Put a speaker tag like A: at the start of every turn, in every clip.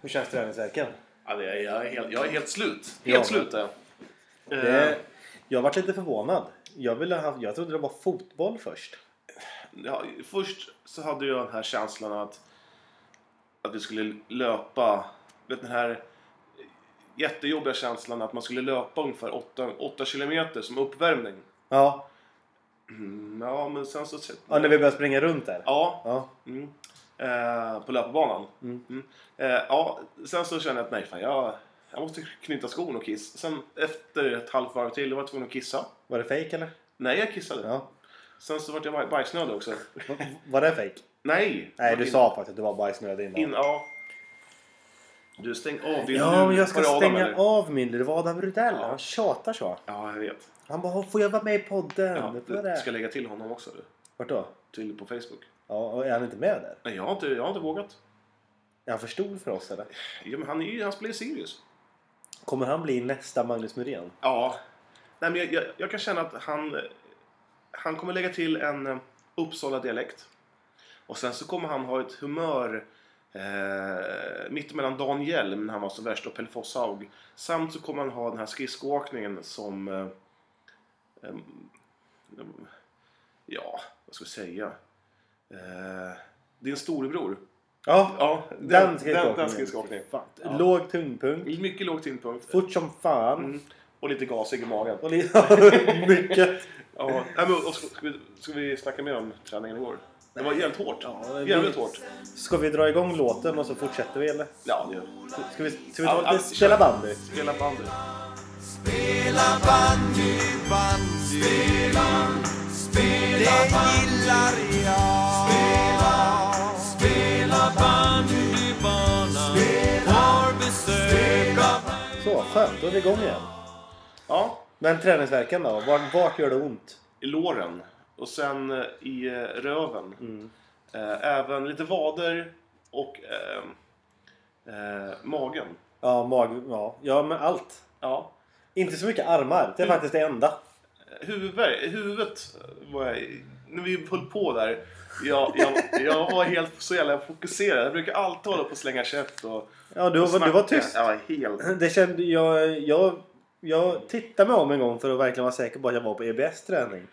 A: Hur känns träningsvärken?
B: Ja, det är, jag, är helt, jag är helt slut.
A: Ja,
B: Helt
A: men-
B: slut är jag.
A: Det,
B: Eh,
A: jag varit lite förvånad. Jag, ville ha, jag trodde det var fotboll först.
B: ja, först så hade jag den här känslan att, att vi skulle löpa. Vet den här jättejobbiga känslan att man skulle löpa ungefär 8, 8 kilometer som uppvärmning.
A: Ja,
B: Mm, ja, men sen så...
A: ja när vi började springa runt där.
B: Ja,
A: Ja,
B: mm, eh, på löpbanan.
A: Mm.
B: Eh, ja, sen så kände jag att nej, fan, jag, jag måste knyta skon och kissa. Sen efter ett halvt varv till, då var jag tvungen att kissa.
A: var det fejk eller?
B: Nej, jag kissade.
A: Ja.
B: Sen så vart jag baj- bajsnödig också.
A: Va- Var det fejk?
B: Nej!
A: Nej, du
B: in,
A: sa faktiskt att du var bajsnödig innan.
B: In, ja. Du, stäng av din
A: Ja, men
B: lur.
A: jag ska
B: Var det Adam,
A: stänga
B: eller?
A: av min. Det var Adam Rudell.
B: Ja.
A: Han tjatar så.
B: Ja, jag vet.
A: Han bara, får jag vara med i podden?
B: Ja,
A: Får jag
B: du
A: det?
B: ska lägga till honom också. Du.
A: Vart då?
B: Till på Facebook.
A: Ja, och är han inte med där?
B: Nej, jag har inte, jag har inte vågat.
A: Är han för stor för oss eller?
B: Ja, men han, är ju, han spelar ju Sirius.
A: Kommer han bli nästa Magnus Muren?
B: Ja. Nej, men jag, jag, jag kan känna att han, eh, han kommer lägga till en eh, Uppsala-dialekt. Och sen så kommer han ha ett humör eh, mittemellan Dan Hjelm när han var som värst och Pelle Fosshaug. Samt så kommer han ha den här skridskoåkningen som... Eh, em, em, ja, vad ska jag säga? Eh, din storebror.
A: Ja,
B: Ja,
A: den
B: den, den
A: skridskoåkningen.
B: skridskoåkningen.
A: Fan,
B: Ja.
A: Låg tyngdpunkt,
B: Mycket låg tyngdpunkt.
A: fort som fan.
B: Mm. Och lite gasig i magen.
A: Och li- mycket.
B: Ja, nej, men, och ska, ska, vi, ska vi snacka mer om träningen igår? Det var jävligt hårt.
A: Ja, det-
B: jävligt hårt.
A: Ska vi dra igång låten och så fortsätter vi eller?
B: Ja, det gör vi.
A: Ska vi, ska vi
B: Ja,
A: ta
B: ja,
A: lite spela bandy?
B: Spela bandy.
C: Spela bandy, bandy. Spela, spela Det gillar jag. Spela, spela bandybanan. Har besök av
A: Så, skönt. Då är vi igång igen.
B: Ja,
A: Men träningsvärken då? Vart, vart gör det ont?
B: i låren. Och sen eh, i eh, röven. Eh, även lite vader och eh, eh, magen.
A: Ja, mag... Ja, ja men allt.
B: Ja.
A: Inte så mycket armar.
B: Mm.
A: Det är faktiskt det enda.
B: Eh, Huvudvärk, huvudet var jag, när vi höll på där. Jag, jag, jag var helt så jävla fokuserad. Jag brukar alltid hålla på och slänga käft och,
A: Ja, du,
B: och
A: var- du var
B: snacka.
A: tyst.
B: Ja, helt.
A: Det kände jag... Jag, jag tittade mig om en gång för att verkligen vara säker på att jag var på EBS träning.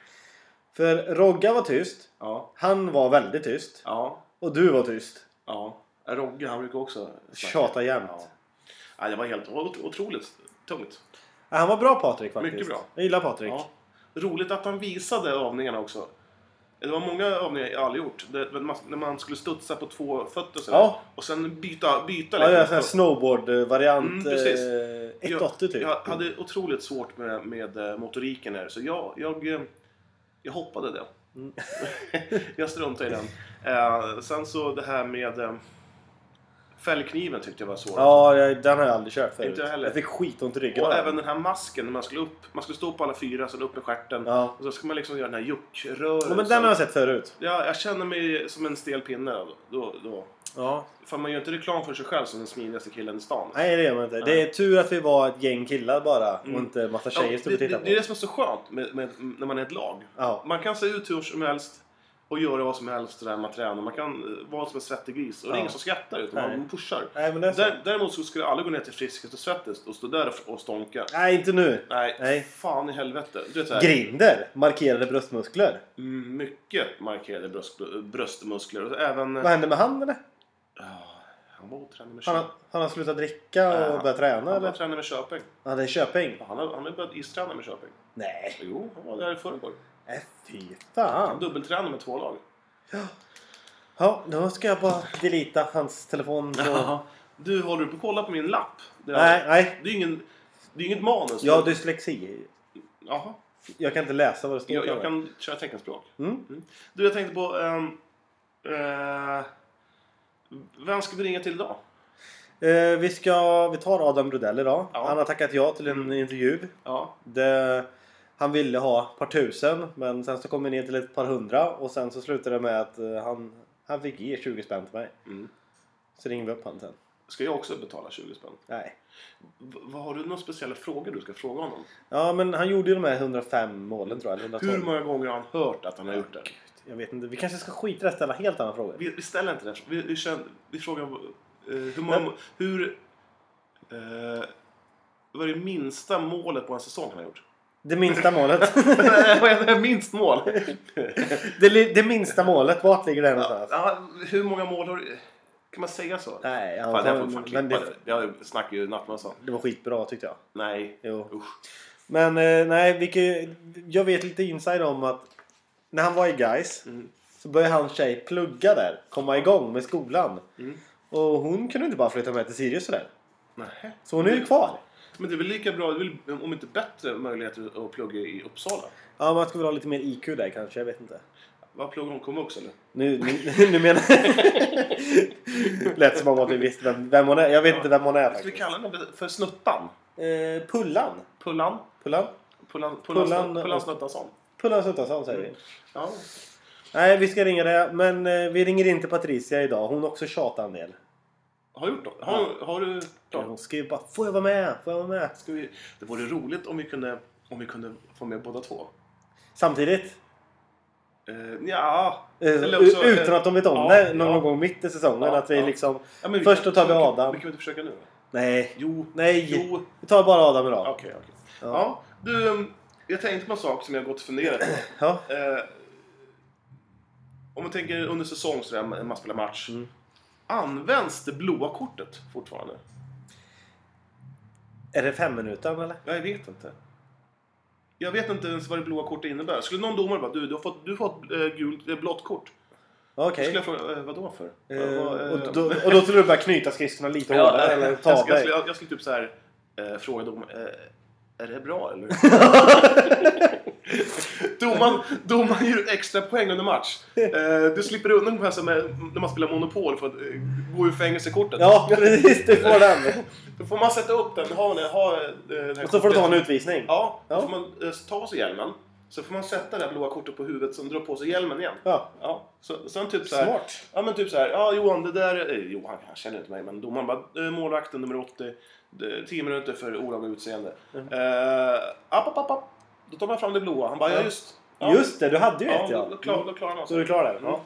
A: För Rogga var tyst.
B: Ja,
A: Han var väldigt tyst.
B: ja.
A: Och du var tyst.
B: Ja, Rogge han brukar också snacka.
A: Tjata jämt.
B: Ja. ja, det var helt o- otroligt tungt.
A: Ja, Han var bra Patrik faktiskt.
B: Mycket bra.
A: Jag gillar Patrik.
B: Ja. Roligt att han visade övningarna också. Det var många övningar jag aldrig gjort. Det, men man, när man skulle studsa på två fötter så här.
A: Ja.
B: och sen byta, byta liksom.
A: Ja, det är en
B: lite.
A: sån här snowboard-variant.
B: Mm, precis.
A: eh,
B: Jag-
A: 180 typ.
B: Jag hade otroligt svårt med, med eh, motoriken här så jag, jag, eh, jag hoppade det.
A: Mm.
B: jag struntade i den. Eh, sen så det här med eh, fällkniven tyckte jag var svårt.
A: Ja, jag- den har jag aldrig kört förut.
B: Inte jag heller.
A: jag fick skitont i ryggen
B: Och
A: av den.
B: även den här masken, när man skulle upp. Man skulle stå på alla fyra, sen upp med stjärten.
A: Ja.
B: Och så ska man liksom göra den här juckrörelsen.
A: Ja, men den har jag sett förut.
B: ja, jag känner mig som en stel pinne. Då, då, då.
A: Ja.
B: För man gör inte reklam för sig själv som den smidigaste killen i stan.
A: Nej, det gör man inte. Det är tur att vi var ett gäng killar bara och inte massa
B: Mm. Ja,
A: tjejer som vi
B: det, det,
A: tittade på.
B: det är det som är så skönt med, med, när man är ett lag.
A: Ja.
B: Man kan se ut hur som helst och göra vad som helst där man tränar. Man kan eh, vara som en svettig gris. Och det
A: Ja.
B: är ingen som skrattar utan
A: Nej.
B: man pushar.
A: Nej, men det är så.
B: Där, däremot så skulle jag aldrig gå ner till Friskis och Svettis och stå där och stånka.
A: Nej, inte nu.
B: Nej,
A: Nej.
B: fan i helvete. Du vet, så här,
A: Grinder. Markerade bröstmuskler.
B: Mm, mycket markerade bröst, bröstmuskler. Och även...
A: Vad hände med han eller?
B: Ja, han var otränad med
A: Har
B: Köping.
A: han, har han slutat dricka och
B: Ja.
A: börjat träna
B: Han var
A: eller?
B: tränad med Köping.
A: Ja, det är Köping.
B: Han har, han har börjat isträna med Köping.
A: Nej.
B: Jo, han var där i förrgår.
A: Nej, fy
B: Han
A: fan.
B: dubbeltränade med två lag.
A: Ja, nu ska jag bara delita hans telefon. På...
B: Du, håller du på att kolla på min lapp? Det är,
A: Nej, nej.
B: Det är, ingen, det är inget manus.
A: Jag har dyslexi.
B: Jaha.
A: Jag kan inte läsa vad det står.
B: Jag, jag
A: på
B: kan köra teckenspråk.
A: Mm.
B: Du, jag tänkte på... ehm, eh, vem ska vi ringa till idag?
A: den. Eh, vi, ska, vi tar Adam Rudell idag.
B: Ja. Mm.
A: Han har tackat ja till en intervju.
B: Ja.
A: Det, han ville ha ett par tusen men sen så kom vi ner till ett par hundra och sen så slutade det med att eh, han, han fick ge 20 spänn till mig.
B: Mm.
A: Så ringde vi upp han sen.
B: Ska jag också betala 20 spänn?
A: Nej.
B: V- vad- har du några speciella frågor du ska fråga honom?
A: Ja men han gjorde ju de här 105 målen tror jag. eller 112.
B: Hur många gånger har han hört att han har gjort det?
A: Jag vet inte. Vi kanske ska skita i att ställa helt andra frågor.
B: Vi, vi ställer inte den. Vi, vi, känner, vi frågar Eh, hur, många, hur eh, vad är det minsta målet på en säsong han har gjort?
A: Det minsta målet.
B: Vad är det? Minst mål?
A: det, li- det minsta målet, vart ligger det någonstans?
B: ja, hur många mål har du? Kan man säga så?
A: Nej,
B: Fan, det här får
A: han,
B: vi fan
A: men det,
B: klippa. Det... Jag snackar ju nattmössan.
A: det var skitbra tyckte jag.
B: Nej.
A: Jo.
B: Usch.
A: Men eh, nej, vilket, jag vet lite inside om att när han var i Gais
B: Mm.
A: så började hans tjej plugga där, komma igång med skolan.
B: Mm.
A: Och hon kunde inte bara flytta med till Sirius sådär.
B: Nej.
A: Så hon är ju kvar.
B: Men det är väl lika bra, det är väl, om inte bättre, möjligheter att plugga i Uppsala?
A: Ja, man skulle väl ha lite mer IQ där kanske, jag vet inte.
B: Vad pluggar hon? Komvux eller?
A: Nu, nu, nu menar Lät som om att vi visste vem, vem hon är. Jag vet inte vem hon är
B: Ska vi
A: faktiskt.
B: kalla henne för Snuttan?
A: Eh, Pullan.
B: Pullan?
A: Pullan.
B: Pullan, pullan,
A: Pullan-
B: pullan, pullan Snuttansson?
A: Pullan Suttansson säger
B: Mm.
A: vi.
B: Ja.
A: Nej, vi ska ringa det. Men eh, vi ringer inte Patricia idag. Hon har också tjatat en del.
B: Har du gjort det? Har, har du... Ja.
A: Hon skriver bara “Får jag vara med? Får jag vara med?”
B: Ska vi, det vore roligt om vi kunde, om vi kunde få med båda två.
A: Samtidigt.
B: Uh, ja.
A: Eh,
B: Eller också,
A: u- utan
B: eh,
A: att de vet om
B: ja,
A: det någon
B: ja.
A: gång mitt i säsongen.
B: Ja,
A: att vi
B: ja.
A: liksom...
B: Ja, men vi
A: Först
B: kan-
A: då tar vi
B: kan-
A: Adam.
B: Vi kan vi inte försöka nu? då?
A: Nej.
B: Jo.
A: Nej.
B: Jo.
A: Vi tar bara Adam idag.
B: Okej, okej.
A: Ja.
B: Ja. Du, um, jag tänkte på en sak som jag gått och funderat på.
A: Ja.
B: Eh, om man tänker under säsong sådär, när man spelar match.
A: Mm.
B: Används det blåa kortet fortfarande?
A: Är det fem minuter eller?
B: Ja, jag vet inte. Jag vet inte ens vad det blåa kortet innebär. Skulle någon domare bara, du, du har fått, du har fått eh, gult, eh, blått kort. Då
A: Okej.
B: skulle jag fråga, eh, vadå för?
A: Eh,
B: Vad- vad, eh,
A: och, då, och då skulle du börja knyta skridskorna lite
B: Ja, eh,
A: hårdare eller ta
B: jag,
A: av
B: skulle, jag,
A: dig.
B: skulle, jag skulle typ så här, eh, fråga dem eh, Är det bra eller? domaren, domaren ger ut extra poäng under match. Eh, du slipper undan ungefär som eh, när man spelar Monopol för att eh, gå ur fängelsekortet.
A: Ja, precis. Du får den.
B: Då får man sätta upp den, ha, den- ha eh, det här
A: Och så får du ta en
B: kortet.
A: utvisning.
B: Ja,
A: Ja.
B: då får man eh, ta sig hjälmen. Så får man sätta det här blåa kortet på huvudet, sen dra på sig hjälmen igen.
A: Ja.
B: Ja, så, sen typ så här,
A: Smart.
B: Ja men typ så här, ja Johan det där, eh, Johan han känner inte mig men domaren bara, eh, målvakten nummer 80, eh, 10 minuter för olaga utseende. Mm. app, app, app, app. Då tar man fram det blåa, han bara,
A: Ja.
B: ja just. Ja,
A: Just det, du hade ju
B: ja,
A: ett
B: ja. Då,
A: ja. Mm.
B: då, klar, då klarar han
A: Så är du
B: oss.
A: klar där?
B: Mm.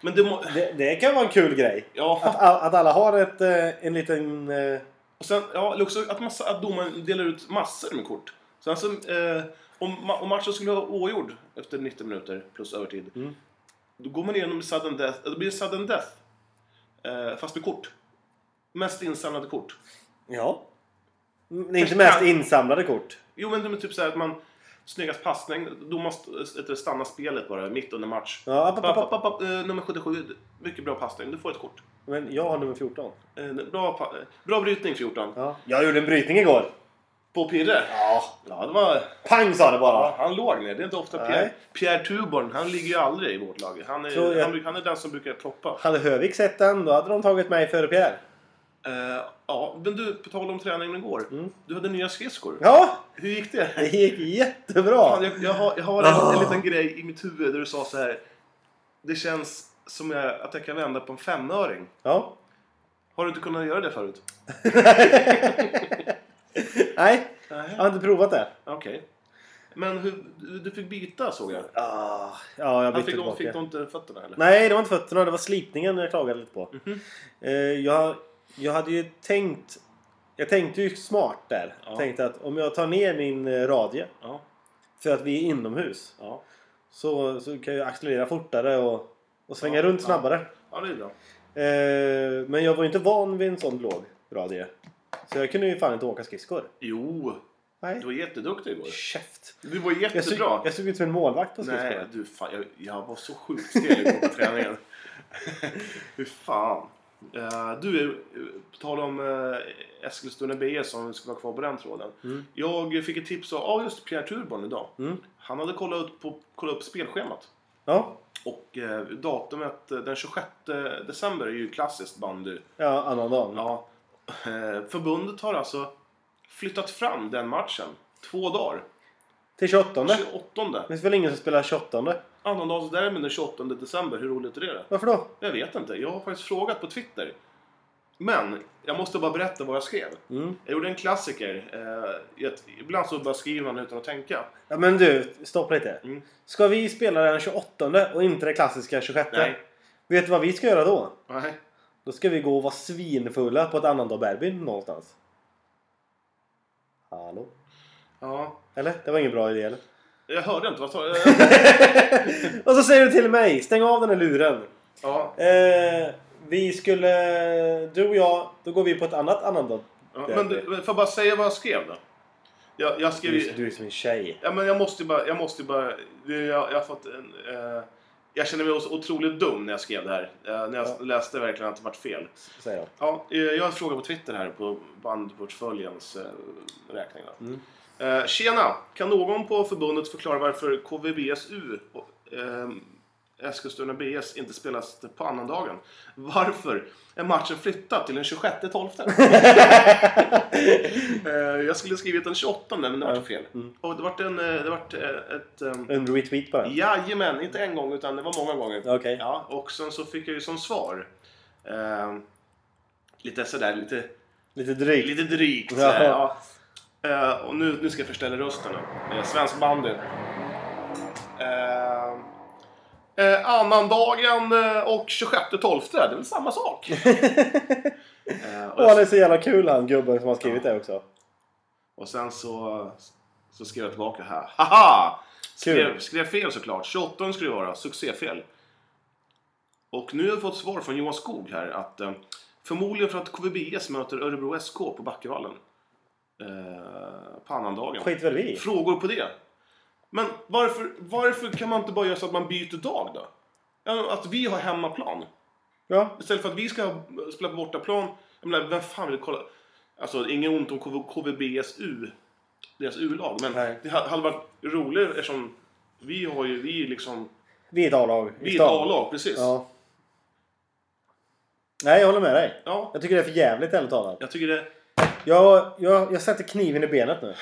B: Men det må,
A: Det, det kan vara en kul grej. Att,
B: ja,
A: all, att alla har ett, eh, en liten... eh,
B: och sen, ja eller också att, massa, att domaren delar ut massor med kort. Sen så, eh, om, ma- om matchen skulle vara oavgjord efter 90 minuter plus övertid,
A: Mm.
B: då går man igenom sudden death, det blir sudden death, eh, fast med kort. Mest insamlade kort.
A: Ja. Mm, Det är inte mest insamlade kort.
B: Jo men det är typ så här att man Snyggast passning, domaren st- st- stannar spelet bara mitt under match.
A: Ja, app,
B: Papp,
A: app,
B: papp,
A: app.
B: papp, eh, nummer 77, mycket bra passning. Du får ett kort.
A: Men jag har nummer 14.
B: Eh, Bra, pa- eh, bra brytning 14.
A: Ja. Jag gjorde en brytning igår.
B: På Pirre.
A: Ja.
B: Ja, det var...
A: Pang sa det bara.
B: Ja, han låg ner. Det är inte ofta
A: Nej.
B: Pierre, Pierre Tuborn, han ligger ju aldrig i vårt lag. Han är,
A: Tror jag-
B: han, bruk- han är den som brukar ploppa.
A: Hade Hövik sett den, då hade de tagit mig före Pierre.
B: Eh, ja, men du, på tal om träningen igår. Du hade nya skridskor.
A: Ja,
B: Hur gick det?
A: det gick jättebra.
B: Fan, jag, jag har, jag har en,
A: Ah.
B: en liten grej i mitt huvud där du sa så här. Det känns som jag, att jag kan vända på en femöring.
A: Ja.
B: Har du inte kunnat göra det förut?
A: Nej,
B: Nej.
A: jag har inte provat det.
B: Ah, Okej. Men hur, du, du fick byta såg jag.
A: Ah, ja, jag
B: Han
A: bytte
B: fick,
A: tillbaka.
B: de, fick de inte fötterna eller?
A: Nej, det var inte fötterna. Det var slipningen jag klagade lite på.
B: Mhm.
A: Eh, jag, jag hade ju tänkt... Jag tänkte ju smart där.
B: Ja.
A: Tänkte att om jag tar ner min eh, radie
B: Ja.
A: för att vi är inomhus
B: Ja.
A: så, så kan jag accelerera fortare och, och svänga
B: Ja,
A: runt
B: ja.
A: snabbare.
B: ja, det är bra.
A: Eh, men jag var ju inte van vid en sån låg radie. Så jag kunde ju fan inte åka skridskor.
B: Jo,
A: Nej.
B: du var jätteduktig igår.
A: Käft!
B: Du var
A: Jag såg,
B: jättebra.
A: jag såg ut som en målvakt på
B: Nej,
A: skridskor.
B: du fan, jag, jag var så sjukt stel igår på träningen. Hur fan. Eh, du, eh, på tal om uh, Eskilstuna BS som ska vara kvar på den tråden.
A: Mm.
B: Jag fick ett tips av ah, just Pierre Turborn idag.
A: Mm.
B: Han hade kollat, ut på, kollat upp spelschemat.
A: Ja,
B: Och eh, datumet eh, den 26 december är ju klassiskt bandy.
A: ja annan dag.
B: Ja. Eh, förbundet har alltså flyttat fram den matchen två dagar.
A: Till 28.
B: Den
A: Det
B: 28.
A: finns väl ingen som spelar 28?
B: Annandagsderbyn den 28 december. Hur roligt är det?
A: Varför då?
B: Jag vet inte. Jag har faktiskt frågat på Twitter. Men jag måste bara berätta vad jag skrev.
A: Mm.
B: Jag gjorde en klassiker. Eh, jag- ibland så bara skriver man utan att tänka.
A: Ja men du, stopp lite.
B: Mm.
A: Ska vi spela den 28 och inte det klassiska 26?
B: Nej.
A: Vet du vad vi ska göra då?
B: Nej.
A: Då ska vi gå och vara svinfulla på ett annandag Bergbyn någonstans. Hallå?
B: Ja.
A: Eller? Det var ingen bra idé eller?
B: Jag hörde inte. Vad sa du?
A: och så säger du till mig, stäng av den här luren.
B: Ja.
A: Eh, vi skulle, du och jag, då går vi på ett annat annandag.
B: ja. Men du, får jag bara säga vad jag skrev då? Jag, jag skrev
A: Du,
B: ju...
A: du är som en tjej.
B: Ja, men jag måste ju bara... Jag, måste ju bara jag, jag har fått en, eh, jag känner mig os- otroligt dum när jag skrev det här. Eh, när jag
A: Ja.
B: läste verkligen att det vart fel.
A: Säger jag.
B: Ja, eh, jag har en fråga på Twitter här på bandportföljens eh, räkning. Då.
A: Mm.
B: Eh, tjena! Kan någon på förbundet förklara varför KVBSU och eh, Eskilstuna BS inte spelas på annandagen? Varför är matchen flyttad till den 26-12? eh, jag skulle skrivit den 28 men det var fel. Och det var en... eh, Det var ett, eh,
A: En retweet bara.
B: Jajamän, inte en gång utan det var många gånger.
A: Okej.
B: Ja, och sen så fick jag ju som svar eh, lite sådär, lite,
A: Lite drygt.
B: lite drygt.
A: Ja.
B: sådär, Ja. Eh, och nu, nu ska jag förställa rösten. då. Eh, svensk bandy. Eh, eh, annandagen eh, och 26-12, det är väl samma sak? eh,
A: Åh, han
B: och,
A: är så jävla kul han gubben som har skrivit det också.
B: och sen så, så skrev jag tillbaka här. Haha! Skrev,
A: Kul.
B: skrev fel såklart. 28 skulle det vara. Succéfel. Och nu har jag fått svar från Johan Skog här att eh, förmodligen för att KVBS möter Örebro SK på Backevallen. Eh, på annandagen.
A: Skit väl vi i.
B: Frågor på det? Men varför, varför kan man inte bara göra så att man byter dag då? Ja, men Att vi har hemmaplan.
A: Ja.
B: Istället för att vi ska spela på bortaplan. Jag menar, vem fan vill kolla? Alltså, inget ont om KV KVBSU. Deras U-lag. Men
A: Nej.
B: det ha- hade varit roligare eftersom vi har ju, vi är liksom,
A: Vi är ett A-lag. i
B: vi är ett
A: stan.
B: A-lag, precis. Ja.
A: Ja. Nej, jag håller med dig. Jag tycker det är för jävligt ärligt talat.
B: jag tycker det.
A: Jag, jag, jag sätter kniven i benet nu.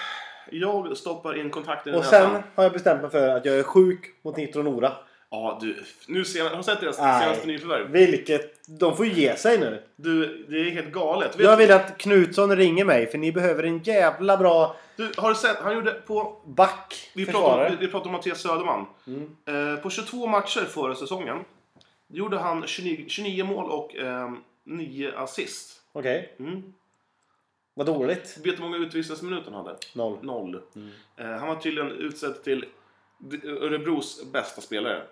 B: Jag stoppar in kontakten i
A: Och
B: näsan.
A: sen har jag bestämt mig för att jag är sjuk mot Nitro Nora.
B: Ja, du. Nu ser jag, har du sett deras
A: Nej.
B: senaste nyförvärv?
A: Vilket... De får ju ge sig nu.
B: Du, det är helt galet. Vet
A: Jag vill att Knutsson ringer mig för ni behöver en jävla bra
B: du, har du sett? Han gjorde på
A: back.
B: Vi
A: försvarare.
B: pratar, om, vi pratar om Mattias Söderman.
A: Mm.
B: Eh, på 22 matcher förra säsongen gjorde han 29, 29 mål och eh, 9 assist.
A: Okej.
B: Mm.
A: Vad dåligt.
B: Vet du hur många utvisningsminuter han hade?
A: Noll.
B: Noll.
A: Mm.
B: Eh, han var tydligen utsedd till D- Örebros bästa spelare.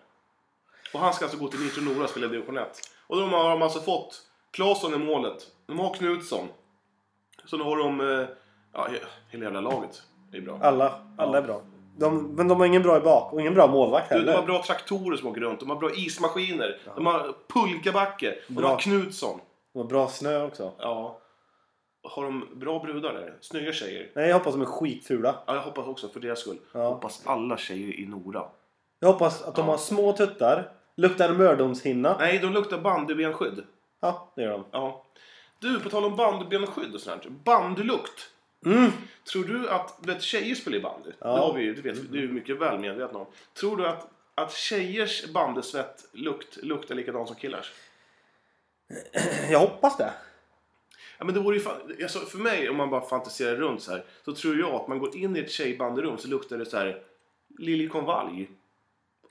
B: Och han ska alltså gå till Nitro Nora och spela i division 1. Och de har de alltså fått Claesson i målet. De har Knutsson. Så nu har de... Eh, ja, he- hela jävla laget är bra.
A: Alla, alla är bra. De, men de har ingen bra i bak och ingen bra målvakt
B: Du,
A: heller.
B: de har bra traktorer som åker runt, de har bra ismaskiner, de har pulkabacke, de
A: Bra.
B: har Knutsson.
A: de har bra snö också.
B: Ja. Har de bra brudar där? Snygga tjejer?
A: Nej, jag hoppas de är skitfula.
B: Ja, jag hoppas också för deras skull.
A: Ja.
B: Hoppas alla tjejer i Nora.
A: Jag hoppas att de
B: Ja.
A: har små tuttar, luktar mördomshinna.
B: Nej, de luktar bandybenskydd.
A: Ja, det gör de.
B: Ja. Du, på tal om bandybenskydd och sånt här. Bandylukt.
A: Mm.
B: Tror du att, du vet tjejer spelar i bandy?
A: Ja. Mm.
B: Det har vi ju, det vet du är ju mycket väl medvetna om. Tror du att, att tjejers bandysvett lukt, luktar likadant som killars?
A: Jag hoppas det.
B: Ja, men det vore ju fan, alltså, för mig, om man bara fantiserar runt så här, så tror jag att man går in i ett tjejbanderum så luktar det så här liljekonvalj.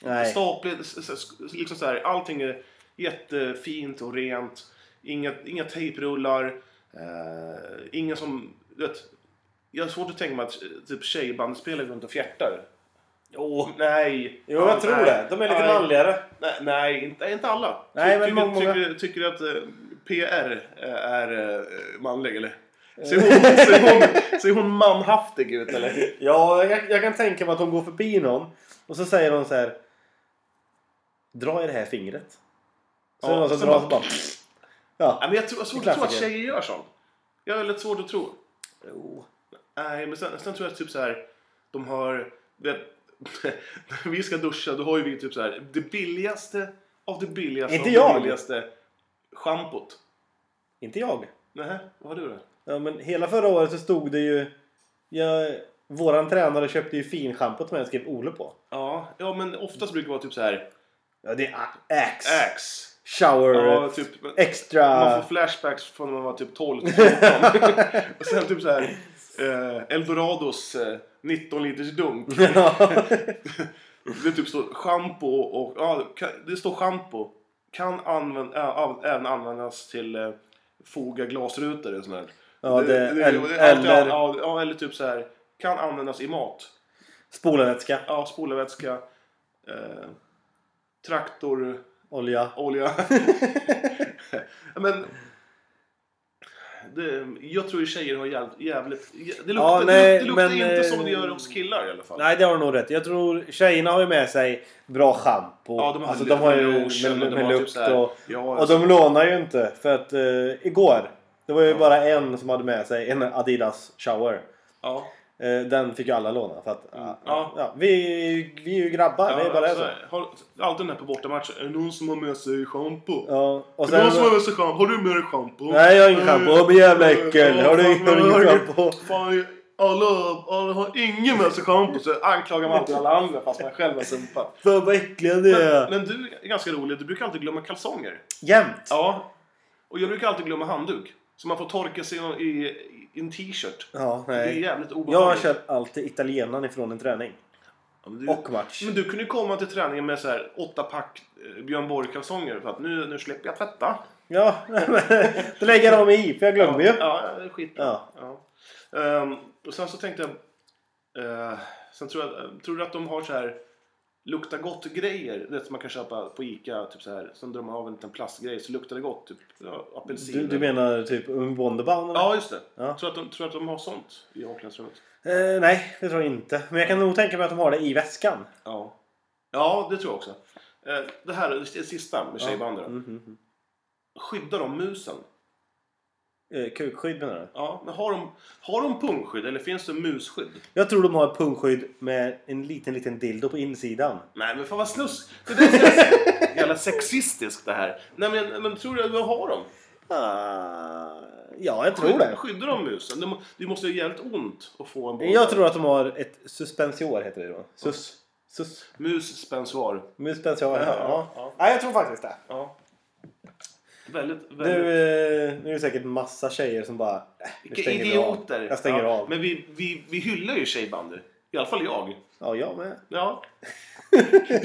A: Nej.
B: Stapligt, s- s- s- liksom så här, allting är jättefint och rent. Inga, inga tejprullar. Eh, inga som, du vet, jag har svårt att tänka mig att eh, typ tjejbandspelare går runt och fjärtar. Jo, nej.
A: Jo, jag
B: Ja,
A: tror
B: nej.
A: det. De är lite
B: nej.
A: manligare.
B: Nej, nej inte, inte alla.
A: Nej,
B: Ty-
A: men
B: tycker,
A: många- många.
B: Tycker, tycker du att eh, PR är eh, manlig eller?
A: Eh.
B: Ser hon, ser hon, ser hon manhaftig ut eller?
A: Ja, jag, jag kan tänka mig att de går förbi någon och så säger de så här. Dra i det här fingret. Så
B: Ja,
A: är det någon som
B: sen
A: drar
B: bara-
A: så bara... Ja.
B: Nej, men jag tror, jag har svårt
A: Det är
B: att tro att
A: klassiker.
B: tjejer gör sånt. Jag har lite svårt att tro.
A: Jo.
B: Nej, men sen, sen tror jag typ så här. De har... Vet, när vi ska duscha då har ju vi typ så här. Det billigaste av det billigaste
A: Inte
B: av det
A: jag.
B: billigaste schampot.
A: Inte jag.
B: Nähä, vad har du då?
A: Ja, men hela förra året så stod det ju... Jag, våran tränare köpte ju finschampo till mig och skrev Ole på.
B: Ja, ja, men oftast brukar det vara typ så här.
A: Ja, det är Axe.
B: Axe.
A: Shower.
B: Ja, typ, men-
A: Extra.
B: Man får flashbacks från när man var typ 12 till 14. och sen typ så här eh, Eldorados eh, 19 liters dunk.
A: Ja.
B: Det typ står schampo och ja, ka- det står schampo. Kan använd, ä, av, även användas till eh, foga glasrutor. Och sånt där.
A: Ja, det- el-
B: och det är alltid-
A: eller-
B: ja, ja, eller typ så här. Kan användas i mat.
A: Spolarvätska,
B: Ja, spolarvätska. Eh, traktor.
A: olja.
B: olja. Men det, jag tror ju tjejer har jävligt... jävligt det luktar,
A: Ja,
B: det
A: nej,
B: luktar, det luktar
A: men,
B: inte
A: eh,
B: som det gör hos killar i alla fall.
A: Nej, det har du nog rätt Jag tror tjejerna har ju med sig bra schampo.
B: Ja, de har,
A: alltså, de har ju
B: lotion och
A: med,
B: de
A: med
B: har typ
A: lukt
B: så här-
A: och...
B: Ja,
A: Och de lånar ju inte för att eh, igår det var ju
B: Ja.
A: bara en som hade med sig en Adidas shower.
B: ja.
A: Eh, den fick ju alla låna för att ah,
B: Mm. Ja.
A: ja. vi, är ju- vi är ju grabbar, det är bara
B: alltså,
A: så.
B: har, alltid den här på bortamatch. Är det någon som har med sig schampo?
A: Ja, och
B: är det
A: sen,
B: någon som har med sig schampo? Har du med dig schampo?
A: Nej, jag har ingen schampo. Åh, men jävla
B: Eh,
A: äckel.
B: ja,
A: Har du-
B: fan,
A: har du ingen
B: men-
A: schampo?
B: Fan, alla, alla har ingen med sig schampo. Så anklagar man alltid alla andra fast man själv har sumpat.
A: Fan vad äckliga ni
B: Men,
A: är!
B: men du är ganska rolig, du brukar alltid glömma kalsonger.
A: Jämt!
B: Ja. Och jag brukar alltid glömma handduk. Så man får torka sig i, i, i en t-shirt.
A: Ja,
B: Det är
A: nej.
B: jävligt
A: Jag
B: obehagligt.
A: kör alltid italienaren ifrån en träning.
B: Ja, men du,
A: Och match.
B: men du kunde ju komma till träningen med så här åtta pack eh, Björn Borg-kalsonger för att nu, nu släpper jag tvätta.
A: Ja, då lägger jag dem i för jag glömmer ju.
B: Ja, det är skit.
A: Ja.
B: Ehm, och sen så tänkte jag... eh, sen tror jag... Tror du att de har så här... Lukta gott-grejer. Det som man kan köpa på Ica. Typ så här. Sen drar man av en liten plastgrej så luktar det gott. Typ ja, apelsin.
A: Du, du menar typ Wonderbound? eller?
B: Ja, just det.
A: Ja.
B: Tror, du att de, tror du att de har sånt i omklädningsrummet?
A: Eh, nej, det tror jag inte. Men jag kan nog tänka mig att de har det i väskan.
B: Ja. Ja, det tror jag också. Eh, det här det sista med tjejbanden.
A: Mm, mm, mm.
B: Skyddar de musen?
A: Eh, kukskydd menar du?
B: Ja, men har de, har de pungskydd eller finns det musskydd?
A: Jag tror de har ett pungskydd med en liten, liten dildo på insidan.
B: Nej men fan vad snus... Det där ska jag säga. Jävla sexistiskt det här. Nej men, men tror du, vad har de?
A: Ah, ja, jag tror
B: Skydd,
A: det.
B: skyddar de musen? Det må- Det måste göra jävligt ont att få en boll.
A: Jag tror att de har ett suspensior, heter det då. Sus. Sus.
B: Musspensoar.
A: Suspensior,
B: Ja,
A: ja.
B: ja.
A: ja. Nej, jag tror faktiskt det.
B: Ja. Väldigt,
A: Nu,
B: väldigt...
A: eh, nu är det säkert massa tjejer som bara... "Äh, nu
B: Vilka
A: stänger vi
B: idioter!
A: Av. Jag stänger
B: ja,
A: av.
B: Men vi, vi, vi hyllar ju tjejbandy. I alla fall jag.
A: Ja, jag med.
B: Ja.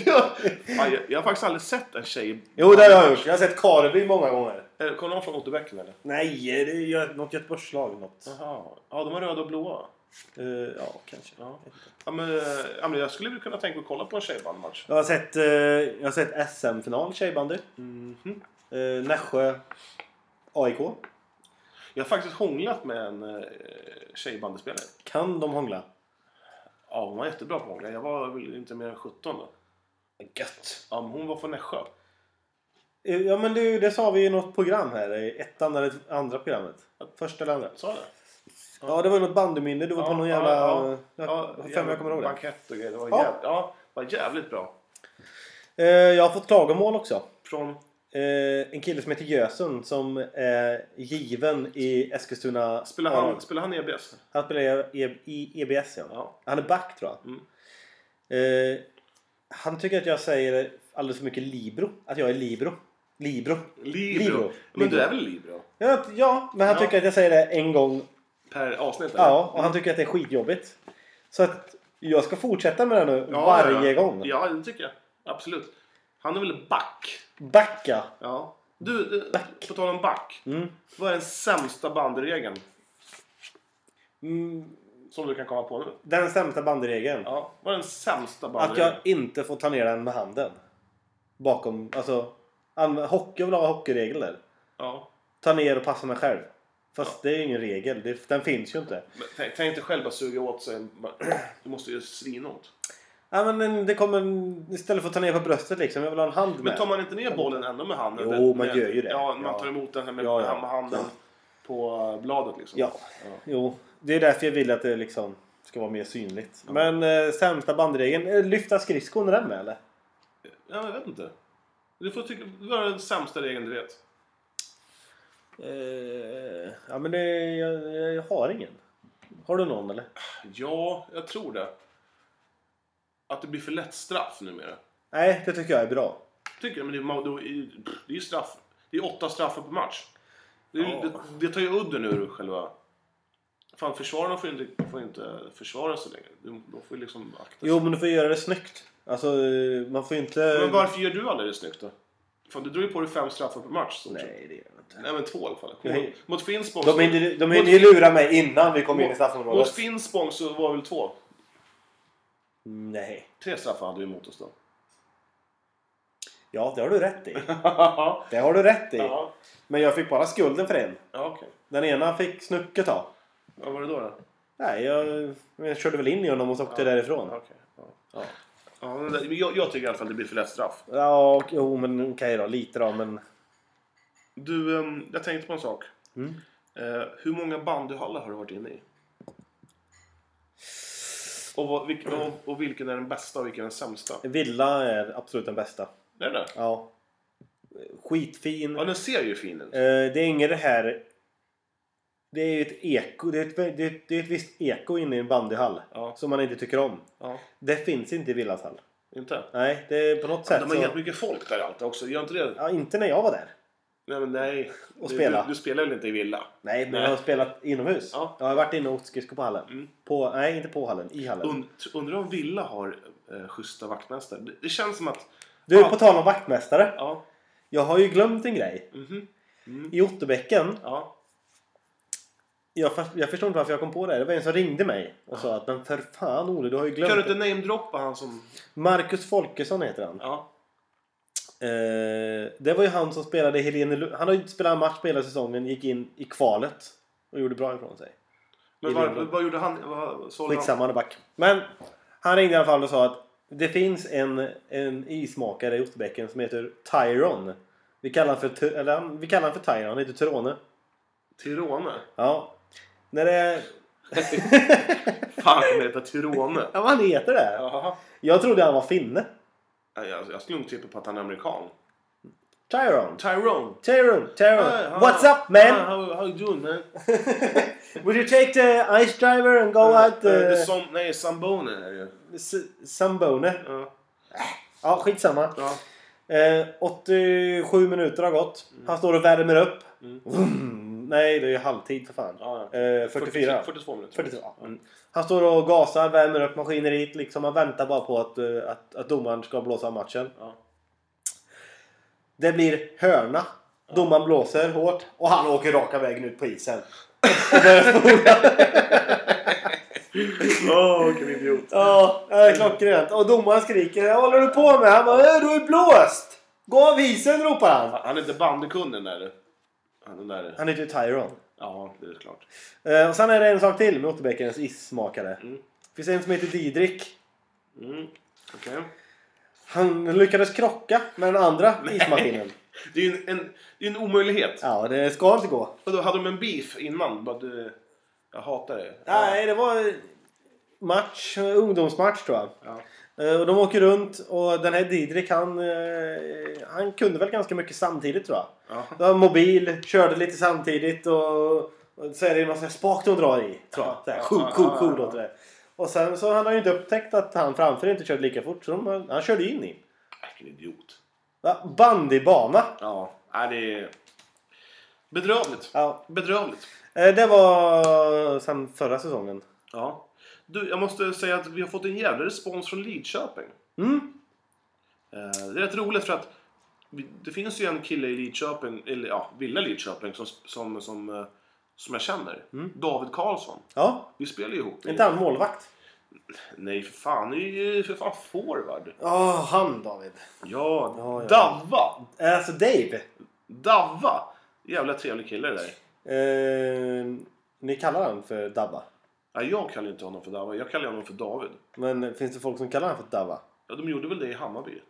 B: ja. Fan, jag, jag har faktiskt aldrig sett en tjej...
A: Jo, det har jag gjort. Jag har sett Karleby många gånger.
B: Eh, Kommer någon från Otterbäcken eller?
A: Nej, det är ju något Göteborgslag. Något.
B: Jaha. Ja, de har röda och blåa.
A: Eh, ja, kanske.
B: Ja. Ja, men, eh, ja, men jag skulle kunna tänka mig att kolla på en tjejbandymatch.
A: Jag har sett, eh, jag har sett SM-final tjejbandy.
B: Mhm.
A: Eh, Nässjö AIK.
B: Jag har faktiskt hånglat med en eh, tjejbandyspelare.
A: Kan de hångla?
B: Ja, hon var jättebra på att hångla. Jag var väl inte mer än 17 då.
A: Gött!
B: Ja, men hon var från Nässjö.
A: Eh, Ja men du, det sa vi i något program här. i Ettan eller andra programmet. Första eller andra.
B: Sa jag det?
A: Ja det var något bandyminne. Du var på
B: Ja,
A: någon
B: ja,
A: jävla...
B: ja.
A: Jag har för mig jag kommer ihåg det.
B: Bankett och grejer. Det var,
A: Ja.
B: jävligt, ja, det var jävligt bra.
A: Eh, jag har fått klagomål också.
B: Från...
A: Eh, en kille som heter Gösen som är given i Eskilstuna.
B: Spelar han, spelar han E EBS?
A: Han spelar i, E- i EBS ja.
B: Ja.
A: Han är back tror jag.
B: Mm.
A: Eh, han tycker att jag säger alldeles för mycket Libro. Att jag är Libro. Libro.
B: Libro.
A: Libro.
B: Men du
A: Libro.
B: är väl Libro?
A: Ja, ja men han
B: Ja.
A: tycker att jag säger det en gång.
B: Per avsnitt? eller?
A: Ja, och han tycker att det är skitjobbigt. Så att jag ska fortsätta med det nu
B: Ja,
A: varje
B: ja.
A: gång.
B: Ja, det tycker jag. Absolut. Han är väl back?
A: Backa.
B: Ja. Du, du på tal om back.
A: Mm.
B: Vad är den sämsta bandregeln
A: Mm,
B: som du kan komma på nu?
A: den sämsta bandregeln.
B: Ja. Vad är den sämsta
A: Att
B: bandregeln?
A: jag inte får ta ner den med handen. Bakom, alltså. anv- Hockey, jag vill ha hockeyregler.
B: Ja.
A: Ta ner och passa mig själv. Fast det är ju ingen regel. Det, den finns ju inte.
B: Men tänk, tänk dig själv att suga åt sig en... Du måste ju svinont.
A: Ja, men en- det kommer en- istället för att ta ner på bröstet liksom. Jag vill ha en hand
B: Men
A: med.
B: tar man inte ner bollen ändå med handen?
A: Jo,
B: med-
A: man
B: med-
A: gör ju det.
B: Ja, man
A: Ja.
B: tar emot den här med,
A: Ja, ja.
B: med handen på bladet liksom.
A: Ja. Jo, det är därför jag vill att det liksom ska vara mer synligt. Men eh, sämsta bandregeln. eh, Lyfta skridskon är den med eller?
B: Ja, men jag vet inte. Du får tycka... Vad är den sämsta regeln du vet?
A: Eh, ja men det, jag, jag har ingen. Har du någon eller?
B: Ja, jag tror det. Att det blir för lätt straff numera.
A: Nej, det tycker jag är bra.
B: Tycker jag, men det är, ma- då är, pff, det är ju straff. Det är åtta straffar per match. Det, är-
A: Ja.
B: det, det tar ju udden ur själva... Fan, försvararna får ju inte, får ju inte försvara sig längre. De, de får ju liksom akta sig.
A: Jo men du får göra det snyggt. Alltså eh, man får ju inte...
B: Men varför gör du aldrig det snyggt då? Fan, du drog ju på dig fem straffar per match. Så typ.
A: Nej, det gör jag inte.
B: Nej, men två i alla fall.
A: Nej.
B: Mot- Mot Finspång
A: De hinner, de hinner ju lura mig innan vi kommer in i
B: Mot
A: straffområdet.
B: Finspång så var det väl två?
A: Nej.
B: Tre straffar hade vi emot oss då.
A: Ja, det har du rätt i.
B: ja,
A: Det har du rätt i.
B: ja
A: Men jag fick bara skulden för en.
B: okej.
A: Den ena fick Snucke ta.
B: Vad var det då? då?
A: Nej, jag, jag körde väl in i honom och så åkte
B: Ja.
A: därifrån.
B: Okej. Ja.
A: Ja.
B: Ja, men det- men jag, jag tycker i alla fall att det blir för lätt straff.
A: Ja, och, jo men okej då. Lite då, men...
B: Du, ehm, jag tänkte på en sak.
A: Mm.
B: Eh, hur många bandyhallar har du varit inne i? Och, vad, vilk, och, och vilken är den bästa och vilken är den sämsta?
A: Villa är absolut den bästa.
B: Det är det?
A: Ja. Skitfin.
B: Ja, den ser ju fin ut.
A: Eh, det är inget det här... Det är ju ett eko. Det är ett, det är ett, det är ett visst eko inne i en bandyhall.
B: Ja.
A: Som man inte tycker om.
B: Ja,
A: Det finns inte i Villas hall.
B: inte?
A: Nej, det är på något
B: Ja,
A: sätt
B: de har
A: så...
B: jättemycket folk där alltid också. Gör inte det?
A: Ja, inte när jag var där.
B: Nej, men nej.
A: Och
B: Du-
A: spela.
B: Du, du spelar väl inte i villa?
A: Nej, men
B: Nej.
A: jag har spelat inomhus.
B: Ja.
A: Jag har varit inne och åkt skridskor på hallen.
B: Mm.
A: På, nej, inte på hallen. I hallen.
B: Und, undrar om villa har eh, schyssta vaktmästare? Det, det känns som att...
A: Du,
B: Ja.
A: på tal om vaktmästare.
B: Ja.
A: Jag har ju glömt en grej.
B: mhm,
A: I Otterbäcken.
B: ja.
A: Jag, fast- jag förstår inte varför jag kom på det. här. Det var en som ringde mig och sa att men för fan Olle, du har ju glömt.
B: Kan du
A: det."
B: inte namedroppa han som...
A: Marcus Folkesson heter han.
B: Ja.
A: Eh, det var ju han som spelade i Helene Lu- Han har ju inte spelat en match på hela säsongen. Gick in i kvalet och gjorde bra ifrån sig.
B: Men
A: I
B: vad,
A: Luleå.
B: vad gjorde han? Vad, sålde han?
A: Skitsamma, han är back. Men han ringde i alla fall och sa att det finns en, en ismakare i Otterbäcken som heter Tyron. Vi kallar han för, Ty- eller, han- vi kallar han för Tyron, han heter Tyrone.
B: Tirone?
A: Ja. När det...
B: Fan, han heta Tirone.
A: Ja, han heter det.
B: Jaha.
A: Jag trodde han var finne.
B: Nej, Jag, jag skulle nog tippa på att han är amerikan.
A: Tyron.
B: Tyrone!
A: Tyron, Tyron.
B: Hi, how-
A: What's up
B: hi,
A: man?
B: How, how you doing man?
A: Would you take the ice driver and go out
B: Eh, det är
A: the...
B: som, nej, Sambone är det ju.
A: S- Sambone.
B: Ja.
A: Ja, skitsamma.
B: Ja.
A: Eh, 87 minuter har gått. Han står och värmer upp.
B: Mm.
A: Vroom. Nej, det är ju halvtid för fan.
B: Ja, ja.
A: Eh, 44.
B: 42 minuter.
A: 42. ja. Mm. Han står och gasar, värmer upp maskineriet. Liksom. Han väntar bara på att, eh, att, att domaren ska blåsa av matchen.
B: Ja.
A: Det blir hörna. Domaren blåser hårt och han åker raka vägen ut på isen.
B: Åh, vilken idiot.
A: Ja, eh, klockrent. Och domaren skriker Vad håller du på med? Han bara "Eh, Du har ju blåst! Gå av isen ropar han.
B: Han är inte bandykunden där. Han den där.
A: Han heter ju Tyrone.
B: Ja, det är klart.
A: Eh, och sen är det en sak till med Otterbäckens issmakare.
B: Mm.
A: finns en som heter Didrik.
B: Mm. Okej.
A: Han lyckades krocka med den andra ismaskinen.
B: Det är ju en, en, det är en omöjlighet.
A: Ja, det ska inte gå.
B: Och då hade de en beef innan. Bara, du, jag hatar dig.
A: Nej, det var match, ungdomsmatch tror jag.
B: Ja.
A: Eh, Och de åker runt och den här Didrik han, eh, han kunde väl ganska mycket samtidigt tror jag.
B: Ja.
A: Det var mobil, körde lite samtidigt och, och så är det en massa spak de drar i. Tror jag.
B: Ja,
A: Så här, sju,
B: ja, ja,
A: sju,
B: ja,
A: sju
B: ja.
A: låter det. Och sen så han har ju inte upptäckt att han framför inte körde lika fort så de, han körde in i.
B: Vilken idiot.
A: Va? Bandybana!
B: Ja, nej, det är bedrövligt.
A: Ja.
B: Bedrövligt.
A: Eh, Det var sen förra säsongen.
B: Ja. Du, jag måste säga att vi har fått en jävla respons från Lidköping.
A: Mm.
B: Eh, Det är rätt roligt för att vi- det finns ju en kille i Lidköping, eller ja, Villa Lidköping som, som, som, eh, som jag känner. David Karlsson.
A: Ja,
B: Vi spelar ju ihop. i-
A: Mm. inte han målvakt?
B: Nej, för fan. Han är ju för fan forward.
A: Ja, han David.
B: Ja,
A: Ja, ja.
B: Davva.
A: Eh, Alltså Dave.
B: Davva. Jävla trevlig kille det där.
A: Eh, ni kallar han för Dabba.
B: Ja, jag kallar inte honom för Davva. Jag kallar honom för David.
A: Men finns det folk som kallar han för Dabba?
B: Ja, de gjorde väl det i Hammarby.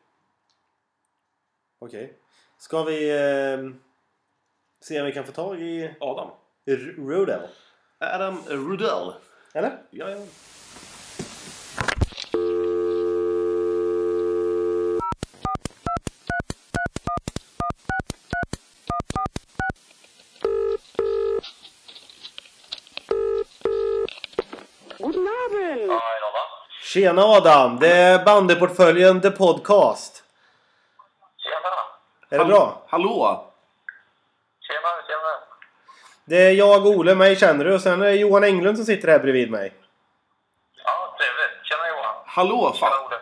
A: Okej. Ska vi eh, se om vi kan få tag i
B: Adam.
A: R- Rudel?
B: Adam Rudell.
A: Eller?
B: Ja, ja.
A: Tjena Adam! Det är Bandyportföljen The Podcast.
D: Tjena!
A: Är det bra?
B: Hallå!
D: Tjena, tjena!
A: Det är jag, Ole, mig känner du och sen är det Johan Englund som sitter här bredvid mig.
D: Ja, trevligt. Tjena Johan!
B: Hallå!
D: Tjena
B: Fan.
D: Olle!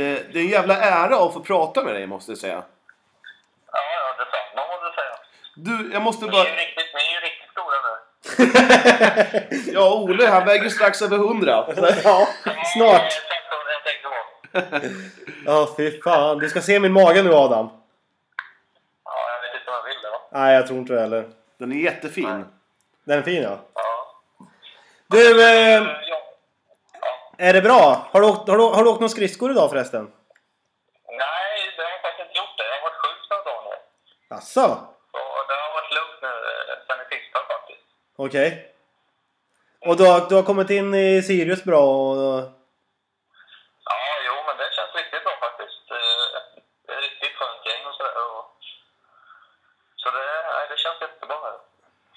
B: Eh, Det är en jävla ära att få prata med dig måste jag säga. Du, jag måste
D: Ni
B: bara...
D: är ju riktigt, ni är ju riktigt stora nu.
B: Ja, Ole, han väger strax över 100.
A: ja, snart.
D: Eh, 16, jag tänkte på.
A: Ja, fy fan. Du ska se min mage nu, Adam.
D: Ja, jag vet inte vad jag vill då.
A: Nej, jag tror inte det heller.
B: Den är jättefin.
A: Den är fin, ja.
D: Ja.
A: Du,
B: Ehm.
A: eh,
D: Ja.
A: är det bra? Har du åkt, har du, har du åkt någon skridskor idag förresten?
D: Nej, det har jag faktiskt inte gjort det. Jag har varit sjuk några dagar nu.
A: Asså?
D: Och det har varit lugnt nu eh, sen i tisdags faktiskt.
A: Okej. Och du har, du har kommit in i Sirius bra och...
D: Ja, jo, men det känns riktigt bra faktiskt. Eh, Det är riktigt skönt gäng och sådär. Och... Så det, nej, det känns jättebra nu.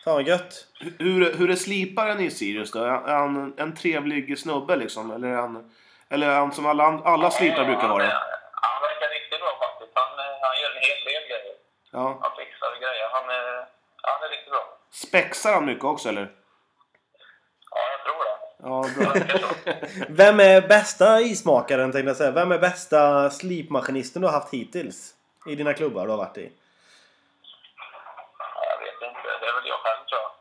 A: Fan vad gött.
B: Hur, hur är sliparen i Sirius då? Är han- är han en trevlig snubbe liksom? Eller är han, eller är han som alla, and- alla slipar brukar
D: Han-
B: vara?
D: Eh, Han verkar riktigt bra faktiskt. Han, eh, han gör en hel del grejer.
B: Ja.
D: Han fixar grejer. Han, är- han är riktigt bra.
B: Spexar han mycket också eller?
D: Ja, jag tror det.
B: Ja,
D: Det
B: bra.
D: verkar så.
A: Vem är bästa ismakaren tänkte jag säga. Vem är bästa slipmaskinisten du har haft hittills? I dina klubbar du har varit i?
D: Ja, Jag vet inte. Det är väl jag själv tror jag.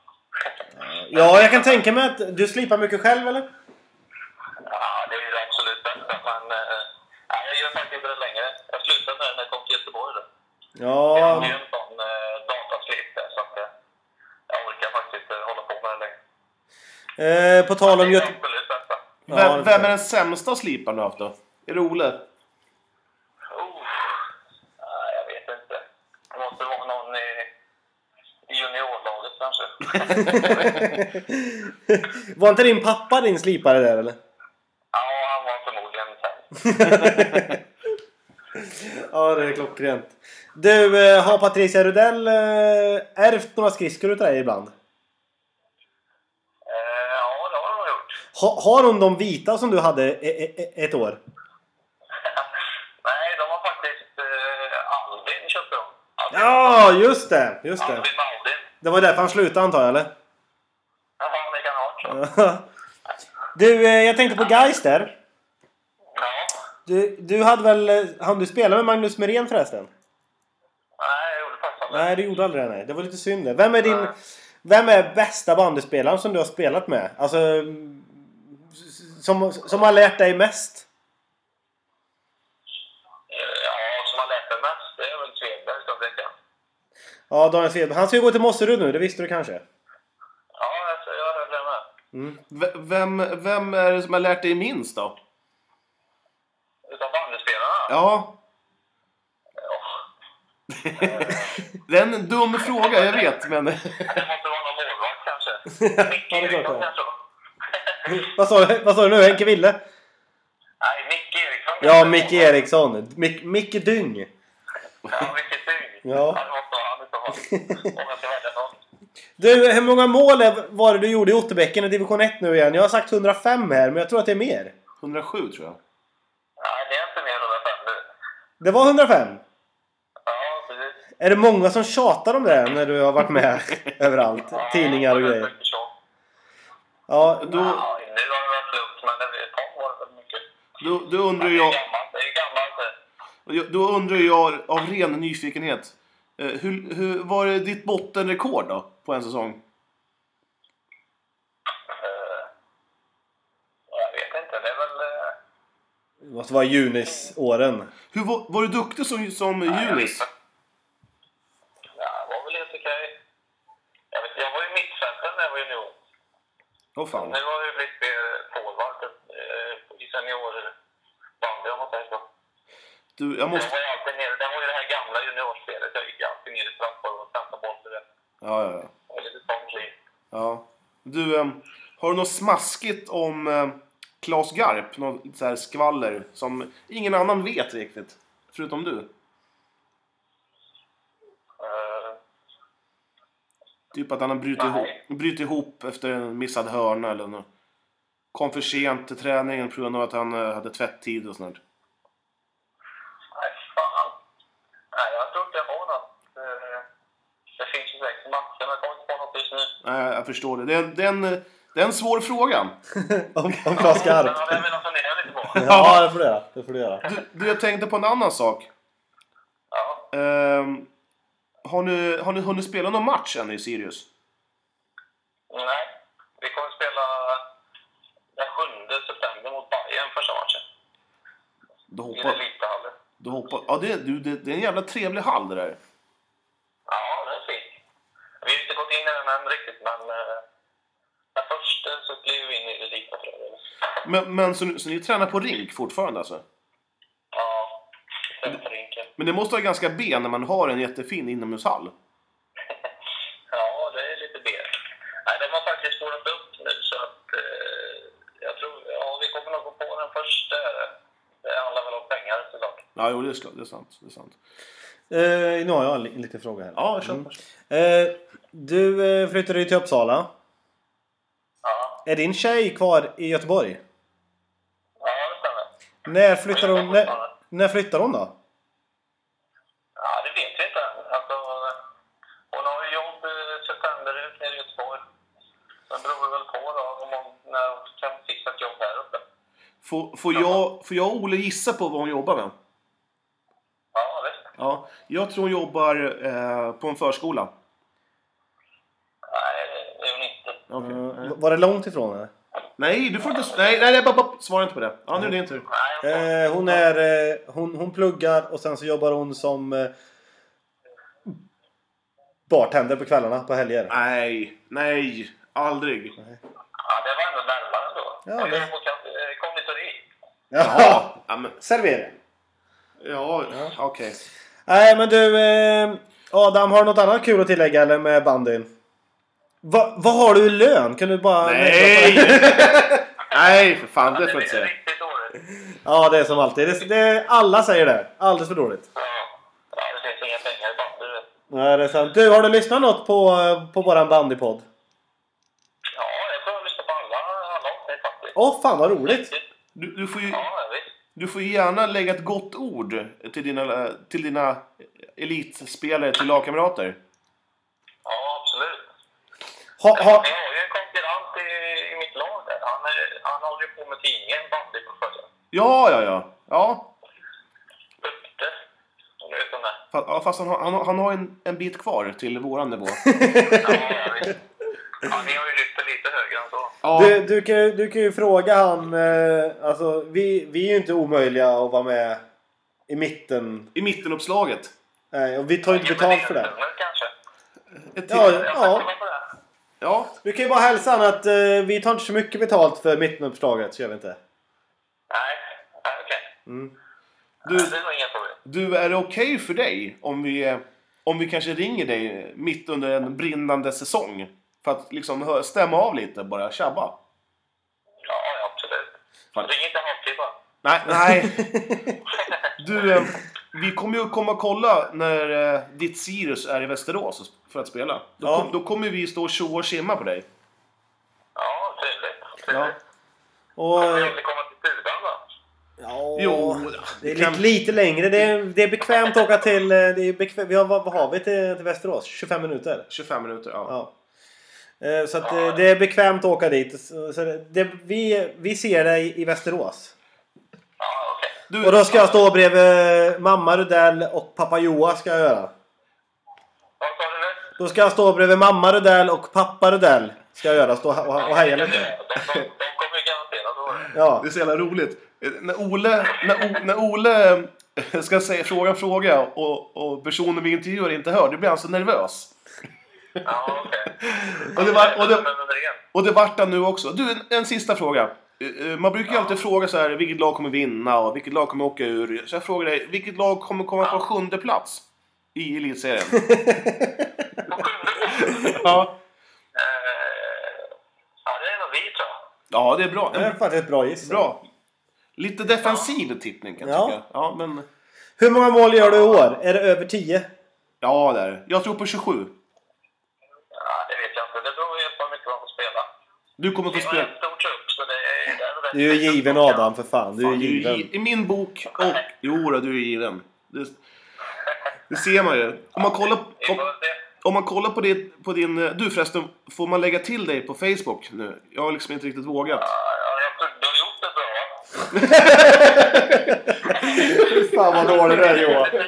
A: Ja, jag kan tänka mig att du slipar mycket själv eller?
D: Ja, det är ju det absolut bästa. Men eh, nej, jag gör faktiskt inte det längre. Jag slutade med det när jag kom till Göteborg. Då. Jag
A: Ja,
D: hade ju en sån eh, dataslip där, så att eh, jag orkar faktiskt inte hålla på med det längre.
A: eh, på tal om
D: Det är det
A: Göteborg...
D: absolut bästa.
A: Ja,
B: Vem, vem är den sämsta sliparen du har haft då? Är det Ole?
D: Oh, nej, jag vet inte. Det måste vara någon i i juniorlaget kanske.
A: Var inte din pappa din slipare där eller?
D: ja, han var förmodligen sämst.
A: Ja, det är klockrent. Du, eh, har Patricia Rudell eh, ärvt några skridskor utav dig ibland?
D: Eh, ja, det har han nog gjort.
A: Ha, har hon de vita som du hade e- e- e- ett år?
D: Nej, de var faktiskt eh, Albin köpte de. Albin,
A: Ja, just det! Just det.
D: Albin Maldin.
A: Det var därför han slutade antar jag, eller?
D: Jaha, det kan ha varit så.
A: Du, eh, jag tänkte på Geist där.
D: Ja.
A: Du, du hade väl... eh, Han du spelade med Magnus Myrén förresten?
D: Nej, jag gjorde faktiskt aldrig.
A: Nej, du gjorde aldrig det. Nej. Det var lite synd det. Vem är din... Vem är bästa bandyspelaren som du har spelat med? Alltså... mm, s- Som, som har lärt dig mest?
D: Eh, Ja, som har lärt mig mest, det är väl Svedberg som det kan.
A: Ja, Daniel Svedberg. Han ska ju gå till Mosserud nu, det visste du kanske?
D: Ja, alltså, jag hörde det med.
B: V- Vem, vem är det som har lärt dig minst då?
D: Utav bandyspelarna?
B: Ja. Det är en dum fråga, jag vet. Men
D: Det måste vara någon målvakt kanske. Micke
A: Ja, det är klart
D: Eriksson
A: det.
D: kanske?
A: Vad sa du, vad sa du nu? Henke Ville?
D: Nej, Micke Eriksson
A: Ja,
D: kanske.
A: Micke Eriksson. Mick, Micke Dyng.
D: Ja, vilket
A: Ja.
D: tyngd. det måste vara han i så fall. Om jag ska välja någon.
A: Du, hur många mål är- var det du gjorde i Otterbäcken i division 1 nu igen? Jag har sagt 105 här, men jag tror att det är mer.
B: 107 tror jag.
D: Nej, det är inte mer än 105 nu.
A: Det var 105.
D: Ja, precis.
A: Är det många som tjatar om det här när du har varit med överallt?
D: Ja,
A: Tidningar och
D: det är
A: grejer.
D: mycket så.
A: Ja,
B: Då,
D: Ja, nu har det varit lugnt, men när vi ett tag var det väl mycket.
B: då, då
D: Men
B: undrar
D: det är
B: jag...
D: gammalt, det är gammalt det.
B: Och jag- Då undrar jag av ren nyfikenhet. eh, Hur, hur var det ditt bottenrekord då? På en säsong?
D: Jag vet inte, det är väl... eh,
A: det måste vara Junis-åren.
B: Hur, var, var du duktig som, som Junis?
D: Ja, det var väl helt okej. Jag, vet, jag var ju mittfältare när jag var junior.
B: Åh fan.
D: Nu har jag ju blivit mer forward eh, i seniorbandy om man säger så.
B: Du, jag
D: Jag
B: måste...
D: var ju alltid nere, det var ju det här gamla juniorspelet. Jag gick alltid ner i straffområdet och kastade boll till det.
B: Ja, ja, ja.
D: Och lite sånt liv.
B: ja. Du, eh, har du något smaskigt om eh, Klas Garp? Något så här skvaller som ingen annan vet riktigt? Förutom du?
D: Eh,
B: Typ att han har brutit
D: Nej.
B: ihop, brutit ihop efter en missad hörna eller något. Kom för sent till träningen på grund av att han eh, hade tvätttid och sånt. där.
D: nej, fan. Nej, jag tror inte jag har något. Eh, det finns ju säkert massor, men jag kommer inte på något just nu.
B: Nej, jag förstår det. Det är, det är, en, det är en svår fråga.
A: Om, om Claes Garp.
D: Den hade eh, jag velat fundera lite på.
A: Ja, det får du göra. Det får du göra.
B: Du, du, jag tänkte på en annan sak.
D: Ja.
B: Ehm, Har ni, har ni hunnit spela någon match än i Sirius?
D: Nej, vi kommer spela den 7 september mot Bayern första matchen.
B: Du
D: I
B: hoppar,
D: Elitehallen.
B: du hoppar. Ja, det, du, det, det är en jävla trevlig hall det där.
D: Ja, den är fin. Vi har inte gått in i den än riktigt, men eh, den första så kliver vi in i Elita tror jag.
B: Men, men så, ni- så ni tränar på rink fortfarande alltså?
D: Ja, sen på rinken.
B: Men det måste vara ganska B när man har en jättefin inomhushall.
D: Ja, det är lite B. Nej, den har faktiskt spårat upp nu så att eh, jag tror, ja vi kommer nog gå på den första. Det handlar väl om pengar såklart.
B: Ja, jo, det är, sl- det är sant. Det är sant.
A: Eh, nu har jag en li- en liten fråga här.
B: Ja, kör.
A: Mm.
B: kör.
A: Eh, du eh, flyttade ju till Uppsala.
D: Ja,
A: Är din tjej kvar i Göteborg?
D: ja det stämmer.
A: När flyttar hon, när, när flyttar hon då?
D: Ja, det vet vi inte än. Alltså, hon har ju jobb eh, september ut nere i Göteborg. Sen beror det väl på då om hon, när hon kan fixa ett jobb här uppe.
B: Får, får, jag, får jag och Olle gissa på vad hon jobbar med?
D: Ja, visst.
B: Ja, jag tror hon jobbar eh, på en förskola.
D: Nej, det är hon inte.
B: Okej.
A: Eh, Var det långt ifrån henne?
B: Nej, du får inte... s- Nej, nej, nej, bara, bara, svara inte på det. Ja, nu är det din tur.
D: Nej,
A: Eh,
D: hon får-
A: hon, är, eh, hon, hon pluggar och sen så jobbar hon som eh, bartender på kvällarna på helger.
B: Nej, nej, aldrig.
D: ja, det var ändå närmare ändå.
A: Ja,
D: Ja,
A: det-
D: Hon eh, jobbar på konditori.
A: Jaha!
B: Ja, men,
A: Servering.
B: ja, okej.
A: Nej men du eh, Adam, har du något annat kul att tillägga eller med bandyn? Va, vad har du i lön? Kan du bara...
B: Nej! nej, för fan, det får jag inte
D: är
B: säga.
D: riktigt dåligt.
A: Ja, det är som alltid. Det, det, alla säger det. Alldeles för dåligt.
D: Ja, ja, det finns inga pengar i bandy. du vet.
A: Nej, det är sant. Du, har du lyssnat något på, eh, på våran bandypodd?
D: Ja, jag tror jag lyssnar på alla, alla avsnitt faktiskt.
A: Åh, fan vad roligt!
B: Du, du, får ju,
D: Ja, visst.
B: du får ju gärna lägga ett gott ord till dina, till dina elitspelare, till lagkamrater.
D: Ja, absolut.
A: Ha,
D: Jag
A: ha,
D: har ju en konkurrent i, i mitt lag där. Han, är- han håller ju på med tidningen Bandyportföljen.
B: Ja, ja, ja. Ja,
D: Putte. Du vet den där.
B: fa- ja, fast han har, han har, han har en, en bit kvar till våran nivå.
D: Ja, jag vet. ja, ni har ju lyft det lite högre än så.
B: Ja,
A: du, du, kan, ju- du kan ju fråga han... Eh, alltså, vi, vi är ju inte omöjliga att vara med i mitten.
B: i mittenuppslaget.
A: Nej, och vi tar ju inte betalt för det.
D: Nummer, kanske.
B: Ett
A: Ja,
B: till.
D: Jag
A: Ja.
D: ja. På det.
B: ja.
A: Du kan ju bara hälsa han att eh, vi tar inte så mycket betalt för mittenuppslaget, så gör vi inte.
D: Nej, nej, okej.
A: Mm.
B: Du,
D: Det var inga problem.
B: Du, är det okej för dig om vi, om vi kanske ringer dig mitt under en brinnande säsong? För att liksom hö- stämma av lite, bara tjabba.
D: Ja, ja, absolut.
B: Fan.
D: Ring inte halvtid bara.
B: Nej, nej. Du, eh, vi kommer ju komma och kolla när eh, ditt Sirius är i Västerås för att spela. Då,
A: Ja.
B: kom, då kommer vi stå och tjoa och tjimma på dig.
D: Ja, trevligt.
B: Ja.
D: trevligt.
A: Och,
D: Kommer jag inte komma till stugan då?
A: ja,
B: Jo,
A: det är
B: kan-
A: lite, lite längre. Det är, det är bekvämt att åka till... eh, Det är bekvä- vi har, vad vad har vi till, till Västerås? 25 minuter?
B: 25 minuter, ja.
A: Ja. Eh, Så att eh, det är bekvämt att åka dit. Så så det, det, vi, vi ser dig i Västerås.
D: Ja, okej.
B: Du,
A: Och då ska jag stå bredvid mamma Rudell och pappa Joa ska jag göra.
D: Vad sa du nu?
A: Då ska jag stå bredvid mamma Rudell och pappa Rudell. Ska jag göra. Stå och, och heja
D: De,
A: lite.
D: de, de kommer ju garanterat att vara det.
A: Ja.
B: Det är så jävla roligt. Eh, När Ole, när, O- när Ole eh, ska säga fråga en fråga och, och personen vi intervjuar inte hör, då blir han så nervös.
D: Ja, okej.
B: Och det, var, och, det,
D: Men, men, men,
B: och det vart han nu också. Du, en, en sista fråga. Eh, eh, Man brukar ju alltid fråga så här, vilket lag kommer vinna och vilket lag kommer åka ur. Så jag frågar dig, vilket lag kommer komma på sjunde plats i elitserien? ja.
D: Eh, ja, det är nog vi tror jag.
B: ja, det är bra.
A: Det är faktiskt ett bra giss.
B: Bra. Lite defensiv tippning kan jag
A: Ja.
B: tycka. Ja, men...
A: Hur många mål gör du i år? Är det över 10?
B: Ja, där. Jag tror på 27.
D: Ja, det vet jag inte. Det beror ju på hur mycket man får spela.
B: Du kommer få
D: Vi har
B: spela.
D: en stor trupp, så det är... Det är rätt
A: Du är
D: mycket
A: given
D: att plocka.
A: Adam för fan. Du är
B: Fan, du är
A: given.
B: gi- I min bok och... Jo då, du är given. Det, det ser man ju. Om man kollar,
D: Vi
B: om,
D: får se.
B: om man kollar på, det, på din... eh, Du förresten, får man lägga till dig på Facebook nu? Jag har liksom inte riktigt vågat.
D: Ja, ja, jag tror- Du har gjort det bra.
A: Fan vad dålig du är Joa.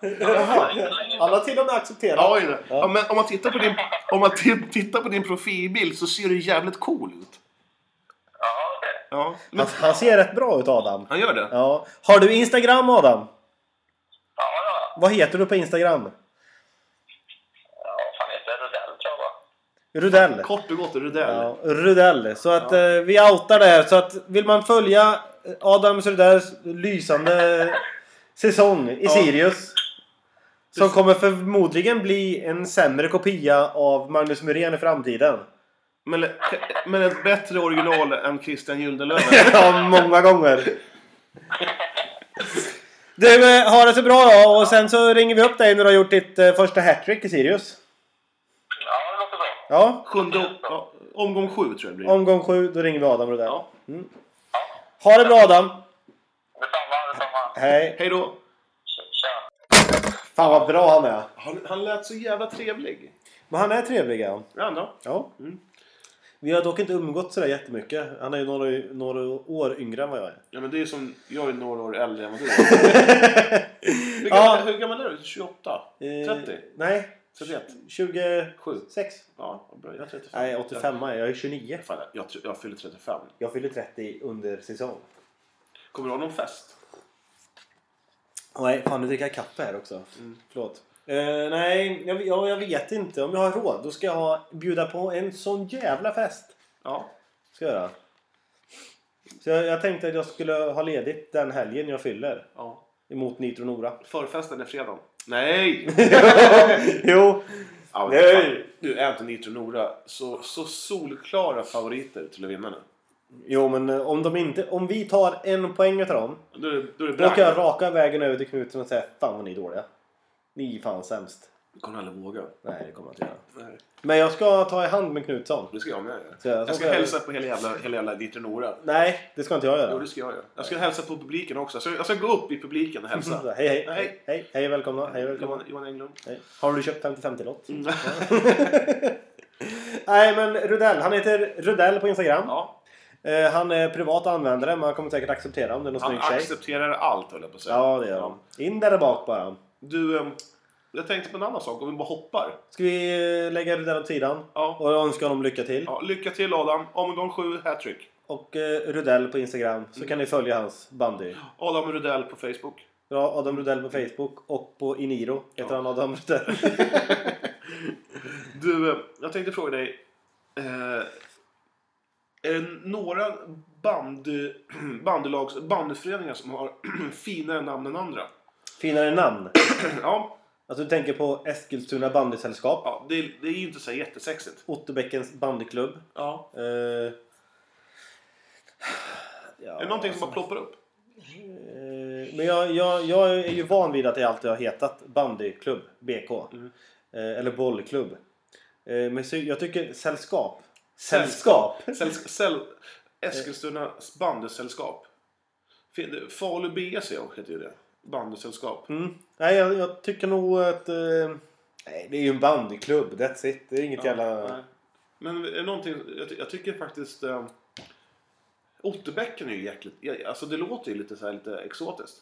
D: Jag tror jag accepterar det till och med.
A: Jaha.
D: Det är inte länge
A: Han har till och med accepterat.
B: Ja, oj då. ja, men om man, tittar på din, om man t- tittar på din profilbild så ser du jävligt cool ut.
D: Ja, okej.
B: Ja, men,
A: Han, Alltså, han ser rätt bra ut Adam.
B: han gör det?
A: Ja. Har du Instagram Adam?
D: Ja, ja.
A: Vad heter du på Instagram?
D: Ja, vad fan heter det? Rudell, tror jag va?
A: Rudell.
B: Kort och gott, är det där?
A: Ja, Rudell. Så att eh, vi outar det här. Så att vill man följa eh, Adams Rudells lysande säsong i
B: Ja.
A: Sirius. Som kommer förmodligen bli en sämre kopia av Magnus Muren i framtiden.
B: Men, men ett bättre original än Christian Gyldenlöv?
A: ja, många gånger. Du, eh, ha det så bra då och sen så ringer vi upp dig när du har gjort ditt eh, första hattrick i Sirius.
D: Ja, det låter bra.
A: Ja,
B: Sjunde, ja, omgång sju tror jag det blir.
A: omgång sju, då ringer vi Adam Rudell.
B: Ja.
A: Mm. Ha det bra Adam!
D: Detsamma, detsamma.
A: Hej!
B: Hej då!
D: Tja.
A: Fan vad bra han är!
B: Han, han lät så jävla trevlig.
A: Men han är trevlig ja.
B: Ja, då.
A: ja.
B: Mm.
A: Vi har dock inte umgått sådär jättemycket. Han är ju några, några år yngre än vad jag är.
B: ja men det är som, jag är några år äldre än vad du är. Hur gammal,
A: Ja.
B: hur gammal är du? 28?
A: Eh,
B: 30?
A: Nej,
B: 31?
A: 26.
B: 7? Ja, vad bra. Jag är 35.
A: Nej, 85 är jag. Jag är 29.
B: Fan, jag- jag, tror- jag fyller 35.
A: Jag fyller 30 under säsong.
B: Kommer du ha någon fest?
A: Nej, fan nu dricker jag kaffe här också.
B: Mm.
A: Förlåt. Eh, nej, jag, jag, jag vet inte. Om jag har råd då ska jag ha, bjuda på en sån jävla fest.
B: Ja.
A: Ska jag göra. Så jag, jag tänkte att jag skulle ha ledigt den helgen jag fyller.
B: ja.
A: Emot Nitro Nora.
B: Förfesten är fredagen. Nej!
A: jo!
B: Ja,
A: Nej.
B: fan. Du, Anton Nitro Nora. Så, så solklara favoriter till att vinna nu.
A: Jo men eh, om, de inte, om vi tar en poäng utav dem.
B: Då är det, då är det
A: Då åker jag
B: bragd.
A: raka vägen över till Knuten och säga Fan vad ni är dåliga. Ni är fan sämst.
B: Kommer aldrig våga.
A: Nej det kommer jag inte göra.
B: Nej.
A: Men jag ska ta i hand med Knutsson.
B: Det ska jag med göra.
A: Ska jag-
B: Jag ska
A: ska jag-
B: hälsa på hela jävla, hela jävla Nitro Nora.
A: Nej, det ska inte jag göra.
B: Jo, det ska jag göra. Jag ska hälsa på publiken också. Jag ska, jag ska gå upp i publiken och
A: Så,
B: hälsa.
A: hej, hej, hej,
B: Hej.
A: hej, hej, välkomna, hej, välkomna.
B: Johan, Johan Englund.
A: Hej. Har du köpt 50-50-lott?
B: Mm.
A: Nej, men Rudell. Han heter Rudell på Instagram.
B: Ja.
A: Eh, han är privat användare, men han kommer säkert acceptera om det är någon
B: Han
A: snygg tjej.
B: accepterar allt höll jag på att säga.
A: Ja, det gör han. In där bak bara.
B: Du, ehm, jag tänkte på en annan sak. Om vi bara hoppar.
A: Ska vi eh, lägga Rudell åt sidan
B: Ja.
A: och önska honom lycka till.
B: Ja, lycka till Adam. Omgång 7, hattrick.
A: Och eh, Rudell på Instagram, så
B: Mm.
A: kan ni följa hans bandy.
B: Adam Rudell på Facebook.
A: Bra, Adam Rudell på
B: Mm.
A: Facebook och på Iniro heter han Adam Rudell.
B: Du, eh, jag tänkte fråga dig. Eh, är det några bandy, bandylags, bandyföreningar som har finare namn än andra?
A: Finare namn.
B: ja,
A: Alltså du tänker på Eskilstuna bandysällskap.
B: ja det, det är ju inte så jättesexigt.
A: Otterbäckens bandyklubb.
B: Ja.
A: Eh, ja,
B: Är det någonting som bara ploppar upp?
A: eh, Men jag, jag, jag är ju van vid att det alltid har hetat bandyklubb, BK.
B: Mm.
A: Eh, eller bollklubb. Eh, men så, jag tycker sällskap.
B: Sällskap. Säll, säll,
A: Eh.
B: Eskilstunas bandysällskap. Fin- det- Falu BSC heter ju det. Bandysällskap.
A: Mm. Nej, jag, jag tycker nog att... Eh, nej, det är ju en bandyklubb, that's it. Det är inget jävla...
B: nej. Men är det någonting, jag, ty- jag tycker faktiskt... Eh, Otterbäcken är ju jäkligt... Alltså det låter ju lite, så här, lite exotiskt.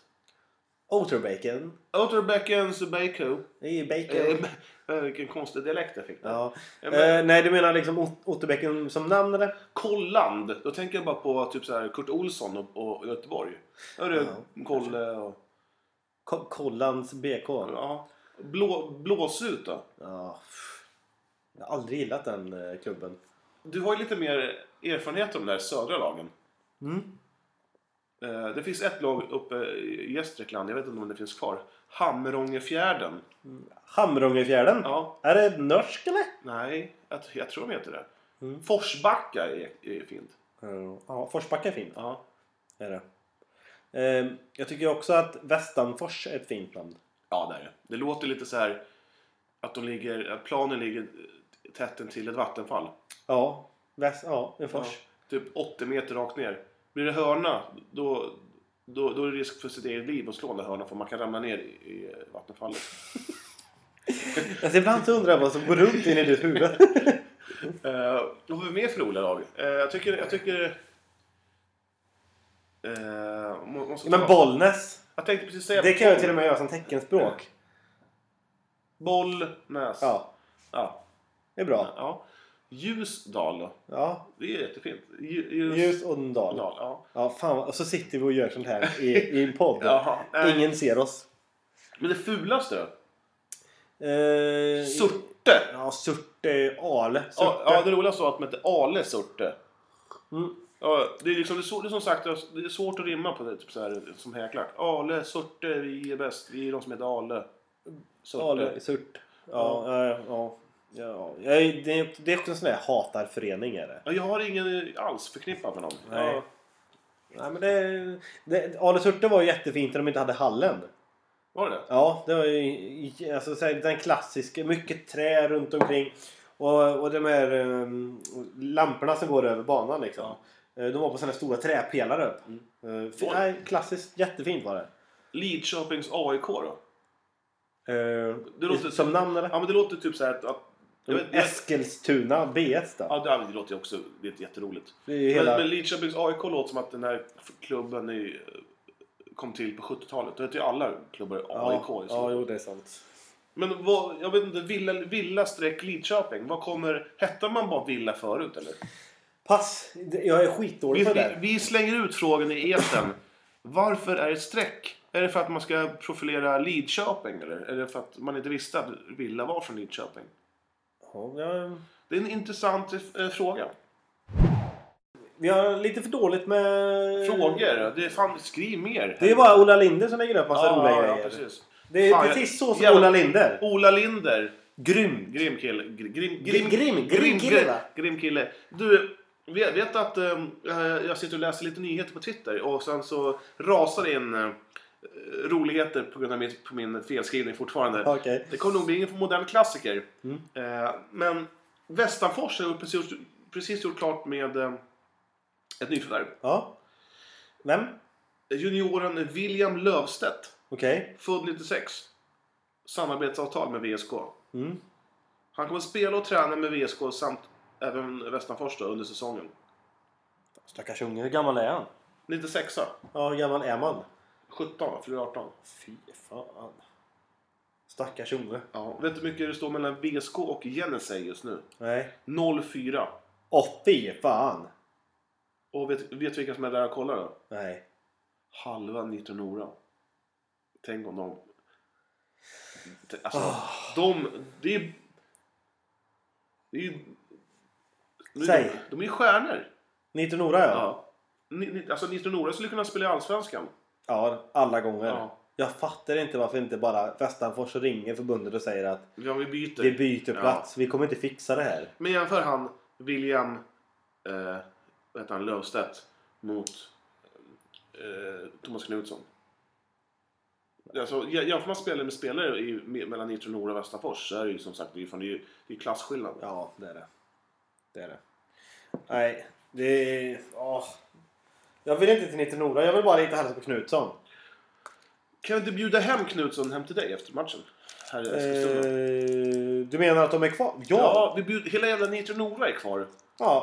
A: Otterbäcken.
B: Otterbeckens Baco.
A: Det är ju bacon.
B: Eh, eh, Vilken konstig dialekt jag fick där.
A: Ja.
B: Ja, men-
A: Eh, nej, du menar liksom Ot- Otterbäcken som namn eller?
B: Kolland. Då tänker jag bara på typ så här Kurt Olsson och, och Göteborg. Hörru,
A: Ja,
B: Kolle och...
A: Ko- Kollands BK.
B: Ja. Blå, blåsut då?
A: Ja. pff. Jag har aldrig gillat den eh, klubben.
B: Du har ju lite mer erfarenhet om de där södra lagen.
A: Mm.
B: Eh, Det finns ett lag uppe i Gästrikland, jag vet inte om det finns kvar. Hamrångefjärden.
A: Hamrångefjärden.
B: Ja,
A: Är det norsk eller?
B: nej, jag, jag tror de heter det.
A: Mm.
B: Forsbacka är, är fint.
A: Ja, Forsbacka är fint.
B: Ja.
A: Är det. Eh, jag tycker också att Västanfors är ett fint namn.
B: Ja, det är det. Det låter lite så här att, de ligger, att planen ligger tätt intill ett vattenfall.
A: Ja, väst, ja en fors.
B: Typ 80 meter rakt ner. Blir det hörna, då, då, då är det risk för sitt eget liv att slå den där hörnan för man kan ramla ner i, i vattenfallet.
A: Alltså, ibland så undrar jag vad som går runt in i ditt huvud.
B: Eh, Vad har vi mer för roliga lag? Eh, jag tycker... Jag tycker eh, må- måste
A: Men
B: ta-
A: Bollnäs.
B: Jag tänkte precis säga
A: Det kan jag till och med göra som teckenspråk.
B: boll, näs.
A: Ja,
B: Ja.
A: det är bra.
B: ja. Ljusdal då?
A: Ja,
B: Det är jättefint. Ljus... Ljusdal.
A: ljus och en dal.
B: Ja.
A: Ja, fan vad- och så sitter vi och gör sånt här i, i en podd.
B: Jaha. nej.
A: Ingen ser oss.
B: Men det fulaste då?
A: Eh,
B: Surte!
A: Ja, Surte, Ale. Surte.
B: Ja, ja, det roliga så att de hette Ale Surte.
A: Mm.
B: Ja, det är liksom det är, så, det är som sagt det är svårt att rimma på det typ så här, som häklar. Ale Surte, vi är bäst. Vi är de som heter Ale. Surte.
A: Ale, Surt. Ja, ja, ja. ja. ja det, det är också en sån där hatarförening är det.
B: Ja, jag har ingen alls förknippad med dem.
A: Nej.
B: Ja.
A: Nej, men det, det, Ale Surte var ju jättefint när de inte hade hallen.
B: Var det det?
A: Ja, det var ju alltså, så här, den klassiska. Mycket trä runt omkring. Och, och de här um, lamporna som går över banan liksom. Eh, De var på såna här stora träpelare upp. Mm.
B: Oj.
A: nej, klassiskt jättefint var det.
B: Lidköpings AIK då?
A: Eh,
B: Det låter-
A: som namn eller? Mm.
B: Ja, men det låter typ så här att... att jag vet, jag,
A: Eskilstuna BS då.
B: ja, det, det låter ju också det är jätteroligt.
A: Det är ju hela...
B: Men, men Lidköpings AIK låter som att den här klubben är, kom till på 70-talet. Då hette ju alla klubbar AIK.
A: ja,
B: i så.
A: ja, jo det är sant.
B: Men vad, jag vet inte, Villa, villa streck Lidköping. Vad kommer... Hette man bara Villa förut eller?
A: Pass! Det- Jag är skitdålig
B: Vi,
A: på det
B: vi,
A: där.
B: vi slänger ut frågan i etern. Varför är det ett streck? Är det för att man ska profilera Lidköping eller? Är det för att man inte visste att Villa var från Lidköping?
A: Ja, jag-
B: Det är en intressant eh, fråga.
A: Vi har lite för dåligt med...
B: Frågor? Det är fan, skriv mer!
A: Det är bara Ola Linder som lägger upp massa roliga grejer.
B: precis.
A: Det är
B: Fan, jag-
A: precis så som
B: jävla-
A: Ola Linder.
B: Ola Linder.
A: Grym!
B: Grym kille. Gr- Grim,
A: Grim- grim- grim kille,
B: gr-
A: va?
B: Grim kille. Du, vet, vet att eh, jag sitter och läser lite nyheter på Twitter och sen så rasar det in eh, roligheter på grund av min, på min felskrivning fortfarande.
A: Okej.
B: Det kommer nog bli ingen modern klassiker.
A: Mm.
B: Eh, men Västanfors har precis, precis gjort klart med eh, ett nyförvärv.
A: Ja. Vem?
B: Junioren William Löfstedt.
A: Okej.
B: Född 96. Samarbetsavtal med VSK.
A: Mm.
B: Han kommer spela och träna med VSK samt även Västanfors då, under säsongen.
A: Stackars unge. Hur gammal är han?
B: 96
A: Ja, hur gammal är man?
B: 17 va? Fyller 18.
A: Fy fan. Stackars unge.
B: Ja. Vet du hur mycket det står mellan VSK och Genesee just nu?
A: Nej.
B: 04.
A: Åh fy fan!
B: Och vet, vet du vilka som är där och kollar då?
A: Nej.
B: Halva 1900. Tänk om de... Alltså,
A: Ah.
B: de... Det är... Det är ju...
A: Säg.
B: De är ju stjärnor.
A: Nito Nora ja.
B: Ja. Ni, ni, alltså Nitro Nora skulle kunna spela i Allsvenskan.
A: Ja, alla gånger.
B: Ja.
A: Jag fattar inte varför inte bara Västanfors ringer förbundet och säger att
B: Ja, vi byter.
A: vi byter plats. Vi kommer inte fixa det här.
B: Men jämför han William eh, vad heter han, Löfstedt mot eh, Thomas Knutsson. Alltså, jä- jämför man spelare med spelare i, me- mellan Nitro Nora och Västerfors så är det ju som sagt det är, ju fan, det är, ju- det är klasskillnad.
A: Ja, det är det. Det är det. Nej, det är... Åh. Jag vill inte till Nitro Nora. Jag vill bara lite hälsa på Knutsson.
B: Kan vi inte bjuda hem Knutsson hem till dig efter matchen? Här i Eskilstuna.
A: Eh, du menar att de är kvar? Eh, Ja!
B: Ja,
A: ja!
B: vi bjud, hela jävla Nitro Nora är kvar.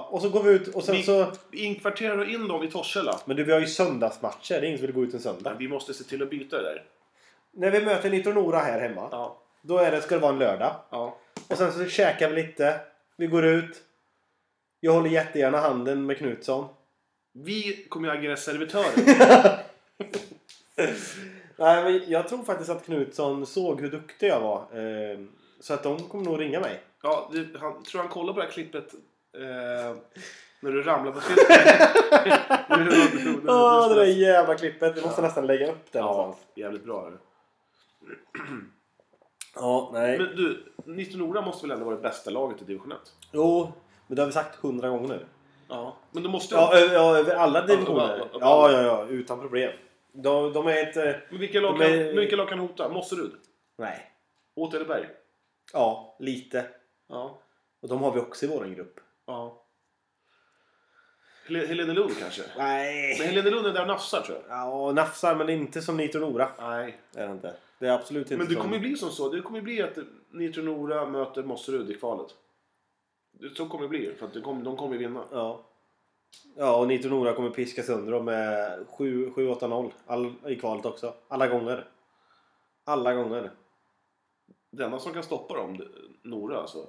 A: och så går vi ut och sen
B: Vi-
A: så...
B: Vi inkvarterar in dem i Torshälla.
A: Men du, vi har ju söndagsmatcher. Det är ingen som vill gå ut en
B: Men
A: söndag.
B: vi måste se till att byta det där.
A: När vi möter Nitro Nora här hemma,
B: Ja.
A: då är det, ska det vara en lördag.
B: ja.
A: Och sen så käkar vi lite. Vi går ut. Jag håller jättegärna handen med Knutsson.
B: Vi kommer ju agera servitörer.
A: Nej, men jag tror faktiskt att Knutsson såg hur duktig jag var. Eh, Så att de kommer nog ringa mig.
B: ja, det, han, tror han kollar på det här klippet eh, när du ramlar på slutet? Nu- nu- nu- nu- nu-
A: Åh, det där jävla klippet. Vi måste
B: Ja.
A: nästan lägga upp det
B: ja,
A: någonstans.
B: jävligt bra. är det.
A: Ja, nej.
B: Men du, 1900 måste väl ändå vara det bästa laget i division 1?
A: jo, men det har vi sagt hundra gånger nu.
B: Ja. Men du måste
A: Ja, över, ja, över alla divisioner.
B: över- över
A: Ja, ja,
B: alla.
A: ja. Utan problem. De, de är inte...
B: men vilka, lag
A: eh, de
B: kan,
A: är-
B: men vilka lag kan hota? Mosserud?
A: Nej.
B: Åtvidaberg?
A: Ja, lite.
B: Ja.
A: Och de har vi också i vår grupp.
B: ja. Hel- Helenelund kanske? Men
A: Nej.
B: Helenelund är där och nafsar tror jag.
A: Ja, nafsar, men inte som Nitro Nora.
B: Nej.
A: Det är det inte. Det är absolut inte
B: Men det
A: som-
B: kommer ju bli som så. Det kommer ju bli att Nitro Nora möter Mosserud i kvalet. Så kommer det bli. För att de kommer, de kommer ju vinna.
A: Ja. Ja, och Nitro Nora kommer piska sönder dem med 7-8-0 all- i kvalet också. Alla gånger. Alla gånger.
B: Det enda som kan stoppa dem, det- Nora alltså.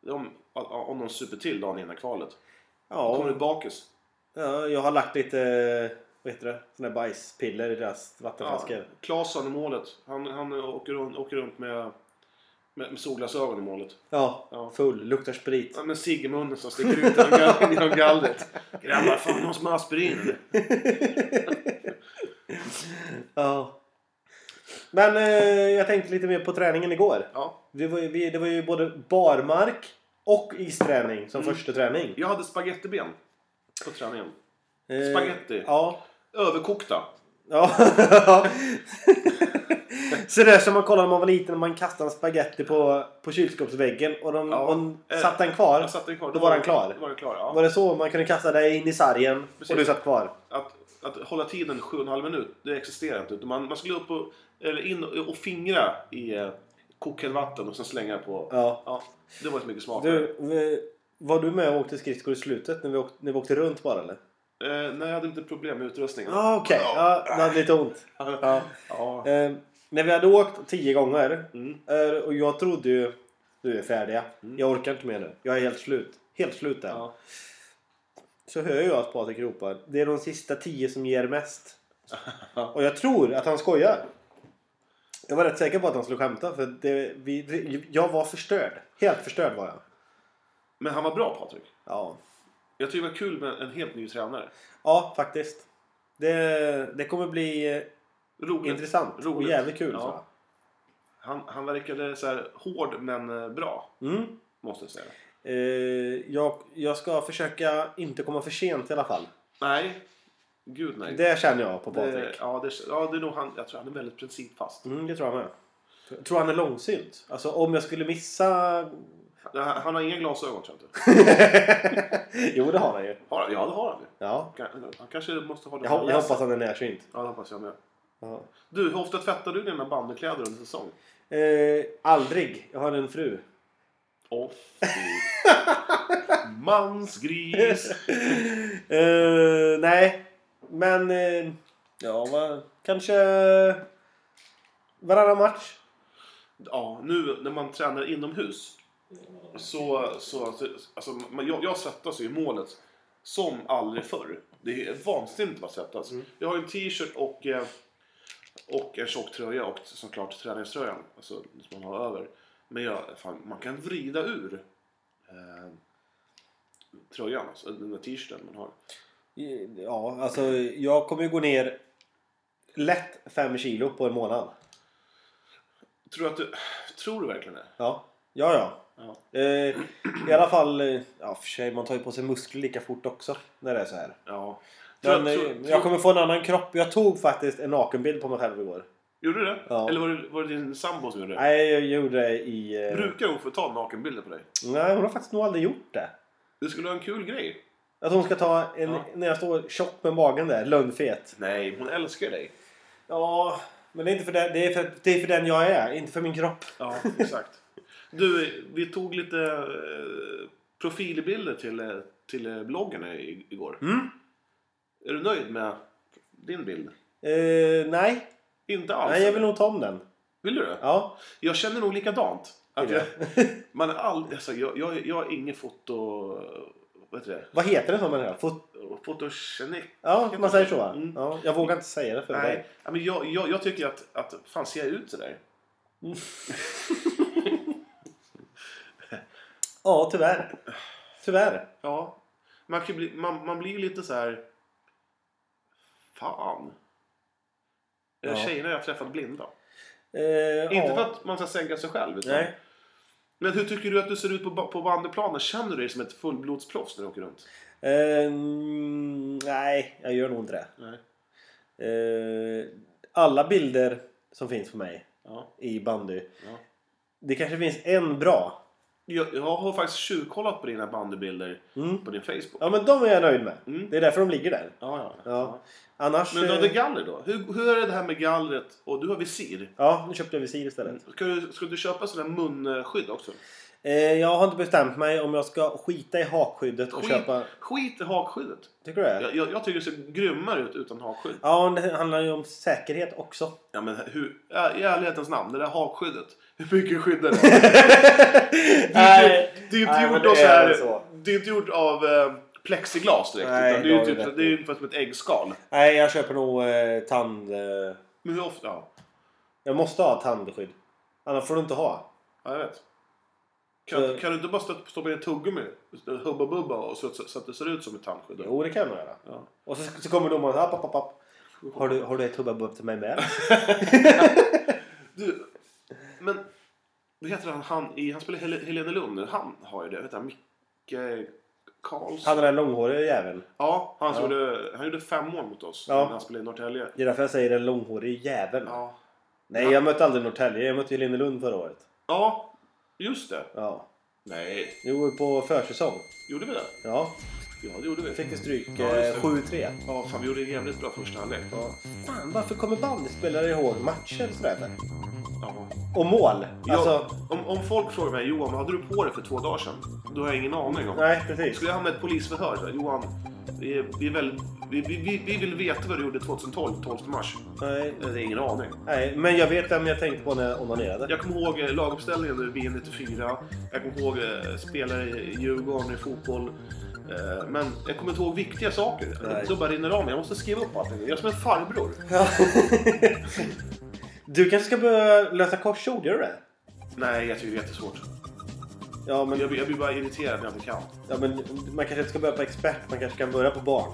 B: det är Om, om de super till dagen innan kvalet. Då kommer
A: Ja,
B: det bakis.
A: ja, jag har lagt lite eh, vad heter det? Såna här bajspiller i deras vattenflaskor.
B: Ja, Klasen i målet. Han, han åker, runt, åker runt med, med, med solglasögon i målet.
A: Ja.
B: Ja.
A: full. Luktar sprit.
B: Ja, Med cigg i munnen som sticker ut genom gall- genom gallret. Grabbar, fan någon som har aspirin? eller?
A: Ja. Men eh, jag tänkte lite mer på träningen igår.
B: Ja.
A: Det var ju, vi, det var ju både barmark och isträning som
B: Mm.
A: första träning.
B: Jag hade spagettiben på träningen.
A: Eh,
B: Spaghetti.
A: Ja.
B: Överkokta.
A: Ja. Så det är som man kollade när man var liten när man kastade en spaghetti på, på kylskåpsväggen och, de,
B: Ja.
A: och
B: Eh,
A: satt den kvar.
B: Jag satte den kvar.
A: Då var den klar.
B: Då var den klar ja.
A: Var det så man kunde kasta dig in i sargen
B: Precis.
A: och du satt kvar?
B: att, att hålla tiden 7,5 minut, det existerar inte. Utan man, man skulle upp och, eller in och, och fingra i eh, kokhelvatten och sen slänga på.
A: Ja.
B: det var inte mycket smak.
A: Du, vi- var du med och åkte skridskor i slutet när vi åkte, när vi åkte runt bara eller?
B: Eh, nej, jag hade inte problem med utrustningen.
A: Ja ah, okej, ja, det hade lite ont. Ja.
B: Ja.
A: Eh, när vi hade åkt tio gånger
B: Mm.
A: eh, och jag trodde ju nu är färdiga. Jag orkar inte mer nu. Jag är helt slut. Helt slut där.
B: Ja.
A: så hör jag att Patrik ropar Det är de sista tio som ger mest. Och jag tror att han skojar. Jag var rätt säker på att han skulle skämta för det, vi, det, jag var förstörd. Helt förstörd var jag.
B: Men han var bra Patrik.
A: Ja,
B: Jag tycker det var kul med en helt ny tränare.
A: ja faktiskt. Det, det kommer bli eh,
B: Roligt.
A: intressant och
B: Roligt.
A: jävligt kul.
B: Ja.
A: tror
B: Han, han verkade så här hård men eh, bra,
A: jag. Mm.
B: måste jag säga.
A: Eh, jag, jag ska försöka inte komma för sent i alla fall.
B: Nej, gud nej.
A: Det känner jag på Patrik.
B: det, ja, det, ja, det är nog han. Jag tror han är väldigt principfast.
A: Mm, det tror jag med. Jag tror han är långsynt. Alltså om jag skulle missa...
B: Han, han har inga glasögon tror jag inte.
A: jo, det har han ju.
B: Har han? Ja, det har han ju.
A: Ja.
B: Kan- Han kanske måste ha det
A: Jag,
B: på
A: hop- jag
B: läsen.
A: hoppas han är närsynt.
B: Ja, det hoppas jag med.
A: Ja.
B: Du, hur ofta tvättar du dina bandykläder under säsong?
A: Eh, aldrig. Jag har en fru.
B: Åh, fy. Mansgris!
A: Eh, nej, men... Eh, ja, va, kanske... Varannan match.
B: Ja, nu när man tränar inomhus så... så så- alltså, man, jag, jag svettas ju i målet som aldrig förr. Det är vansinnigt vad svettas.
A: Mm.
B: Jag har en t-shirt och, eh, och en tjock tröja och såklart träningströjan alltså, som man har över. Men jag, fan, man kan vrida ur eh, tröjan, alltså, den där t-shirten man har.
A: Ja, alltså jag kommer ju gå ner lätt fem kilo på en månad.
B: Tror du, att du, tror du verkligen det?
A: Ja, ja. ja.
B: Ja.
A: Eh, I alla fall... eh, Ja, för sig, man tar ju på sig muskler lika fort också när det är så här.
B: Ja. Tror,
A: Men,
B: tror,
A: eh, jag kommer få en annan kropp. Jag tog faktiskt en nakenbild på mig själv igår.
B: Gjorde du det?
A: Ja.
B: Eller var det, var det din sambo som gjorde det?
A: Nej, jag gjorde det i... eh,
B: Brukar hon få ta nakenbilder på dig?
A: Nej, hon har faktiskt nog aldrig gjort det.
B: Det skulle vara en kul grej.
A: Att hon ska ta en,
B: Ja.
A: när jag står tjock med magen där, lönnfet.
B: Nej, hon älskar dig.
A: Ja, men det är inte för den, det är för, det är för den jag är, inte för min kropp.
B: Ja, exakt. Du, vi tog lite eh, profilbilder till, eh, till eh, bloggen i- igår.
A: Mm.
B: Är du nöjd med din bild?
A: Eh, nej.
B: Inte alls?
A: nej, jag vill
B: eller?
A: nog ta om den.
B: vill du det?
A: Ja.
B: Jag känner nog likadant. Att
A: Är
B: jag,
A: det?
B: man är all, alltså, jag, jag, jag är ingen foto... Vad heter det?
A: Vad heter det som den här? Fot-
B: Fotogenik.
A: ja, man säger så. va?
B: Mm.
A: Ja, jag vågar inte säga det för
B: Nej,
A: dig.
B: ja, men jag, jag, jag tycker att, att fan ser jag ut sådär?
A: Ja, tyvärr. Tyvärr.
B: Ja. Man, kan bli, man, man blir ju lite så här. Fan. Eller
A: Ja.
B: Tjejerna jag har träffat blinda.
A: Eh,
B: Inte
A: ja.
B: för att man ska sänka sig själv. Utan,
A: Nej.
B: Men hur tycker du att du ser ut på, ba- på bandyplanen? Känner du dig som ett fullblodsproffs när du åker runt?
A: Eh, mm, nej, jag gör nog inte det.
B: Nej.
A: Eh, alla bilder som finns på mig
B: Ja.
A: i bandy.
B: Ja.
A: Det kanske finns en bra.
B: Jag, jag har faktiskt tjuvkollat på dina bandybilder
A: Mm.
B: på din Facebook.
A: Ja men de är jag nöjd med.
B: Mm.
A: Det är därför de ligger där.
B: Ja, ja.
A: Ja. Annars...
B: Men du
A: eh,
B: hade galler då? Hur, hur är det här med gallret och du har visir? Mm.
A: Ja, nu köpte jag visir istället.
B: Ska du, ska du köpa sådana munskydd också?
A: Eh, jag har inte bestämt mig om jag ska skita i hakskyddet och
B: Skit,
A: köpa...
B: skit i hakskyddet.
A: Tycker du det?
B: Jag, jag, jag tycker det ser grymmare ut utan hakskydd.
A: Ja, det handlar ju om säkerhet också.
B: Ja, men hur, i ärlighetens namn, det där hakskyddet. Hur mycket skyddar det? Det är
A: Nej.
B: ju inte- det är ju inte
A: Nej, men
B: gjort
A: det
B: av så
A: är
B: här-
A: väl så.
B: det är ju inte gjort av eh, plexiglas direkt.
A: Nej,
B: utan det är
A: det
B: ju
A: har
B: typ,
A: du rätt
B: det
A: i.
B: är ju ungefär som ett äggskal.
A: Nej, jag köper nog eh, tand... Eh,
B: Men hur ofta? Ja,
A: jag måste ha tandskydd. Annars får du inte ha.
B: ja jag vet. Kan,
A: Så-
B: kan du inte bara stöt- stoppa ner tuggummi? Hubba bubba och så, så, så att det ser ut som ett tandskydd?
A: Jo, det kan jag nog göra.
B: Ja.
A: Och så, så kommer domaren och säger app, app, app. Har du, har du ett hubba till mig med?
B: Du, men vad heter han, han, i, han spelar Hel- Helene Lund nu. Han har ju det. Vad heter han? Micke Karlsson?
A: Han den där långhåriga jäveln.
B: Ja, han,
A: Ja.
B: Gjorde, han gjorde fem mål mot oss
A: Ja.
B: när han spelade i Norrtälje.
A: Det är därför jag säger den långhåriga jäveln.
B: Ja.
A: Nej, jag mötte aldrig Norrtälje. Jag mötte ju Lindelund förra året.
B: ja, just det.
A: Ja.
B: Nej,
A: Jo, på försäsong.
B: gjorde vi det?
A: Ja.
B: Ja, det gjorde vi.
A: Fick vi stryk
B: Ja, just
A: eh,
B: det.
A: 7-3.
B: Ja, fan, vi gjorde en jävligt bra första halvlek.
A: Ja. Fan, varför kommer bandyspelare ihåg matcher sådär för?
B: Ja.
A: Och mål! Alltså,
B: Jag, om, om folk frågar mig Johan, vad hade du på dig för två dagar sedan? Då har jag ingen aning om.
A: nej precis.
B: Skulle jag hamna i ett polisförhör? Så, här, Johan, vi, är, vi, är väl, vi, vi, vi, vi vill veta vad du gjorde 2012, 12 mars.
A: Nej,
B: Jag har ingen aning.
A: nej, men jag vet vem jag tänkte på när jag onanerade.
B: Jag kommer ihåg eh, laguppställningen i VM 94. Jag kommer ihåg eh, spelare i Djurgården i fotboll. Eh, Men jag kommer inte ihåg viktiga saker.
A: Nej.
B: Då bara rinner det av mig. Jag måste skriva upp allting. Jag är som en farbror.
A: Ja. du kanske ska börja lösa korsord, gör du det?
B: Nej, jag tycker det är jättesvårt.
A: Ja men,
B: Jag blir, jag blir bara irriterad när jag inte kan.
A: ja, men man kanske inte ska börja på expert, man kanske kan börja på barn.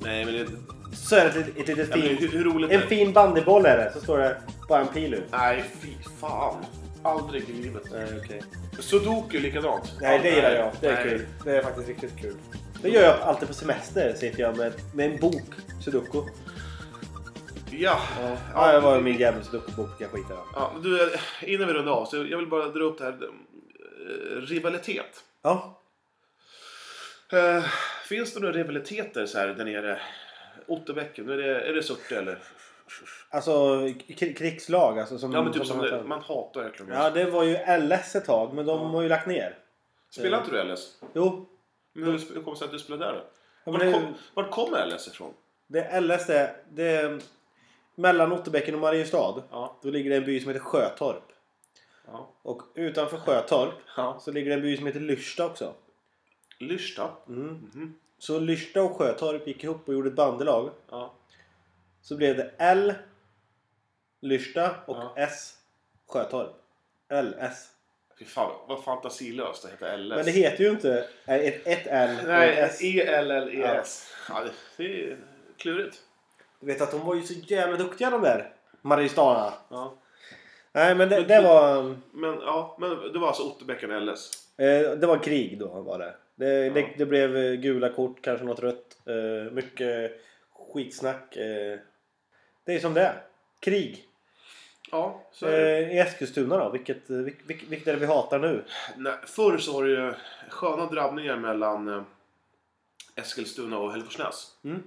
B: Nej, men det...
A: Så är det ett, ett litet
B: Ja, men hur,
A: fint...
B: hur roligt
A: En
B: är det?
A: fin bandyboll är det, så står det bara en pil ut.
B: Nej, fy fan. Aldrig i livet.
A: Nej, Eh, okej.
B: Sudoku likadant.
A: Nej, det gillar jag. Det är
B: Nej.
A: kul. Det är faktiskt riktigt kul. Det gör jag alltid på semester. Sitter jag med, med en bok, sudoku.
B: Ja.
A: Ja, ja, jag var ju min jävla sudoku-bok. Jag skiter i den.
B: ja, du, eh, innan vi rundar av så jag vill bara dra upp det här. eh, Rivalitet.
A: Ja.
B: Eh, finns det några rivaliteter så här där nere? Otterbäcken, är det, är det Surte eller?
A: Alltså kri- krigslag. Alltså, som,
B: Ja men typ som
A: man-
B: det, man hatar verkligen.
A: Ja, det var ju LS ett tag, men de har ju lagt ner.
B: Spelar inte du LS?
A: Jo.
B: Men hur sp- hur kommer det sig att du spelar där då?
A: Ja, men
B: Vart,
A: det,
B: kom, vart kommer LS ifrån?
A: det är LS det. det är, mellan Otterbäcken och Mariestad.
B: Ja.
A: Då ligger det en by som heter Sjötorp.
B: ja.
A: Och utanför Sjötorp
B: ja.
A: så ligger det en by som heter Lyrsta också.
B: Lyrsta?
A: Så Lyrsta och Sjötorp gick ihop och gjorde ett bandelag.
B: Ja.
A: Så blev det L Lyrsta och
B: Ja.
A: S Sjötorp. LS.
B: Fy fan vad fantasilöst det heter LS.
A: Men det heter ju inte eh, ett, ett L och
B: Nej, E,
A: ett S.
B: E-L-L-E-S. Ja. det- det är klurigt.
A: Du vet att de var ju så jävla duktiga de där Mariestana.
B: Ja.
A: Nej men det,
B: Men-
A: det var...
B: Men, ja, men det var alltså Otterbäcken och LS?
A: Eh, det var krig då var det. Det,
B: Ja.
A: det, det blev eh, gula kort, kanske något rött. Eh, mycket skitsnack. Eh, det är som det är. Krig.
B: Ja, så är det.
A: Eh, I Eskilstuna då, vilket, eh, vilk- vilk- vilket är det vi hatar nu?
B: Nej, förr så var det ju sköna drabbningar mellan eh, Eskilstuna och Hälleforsnäs.
A: Mm.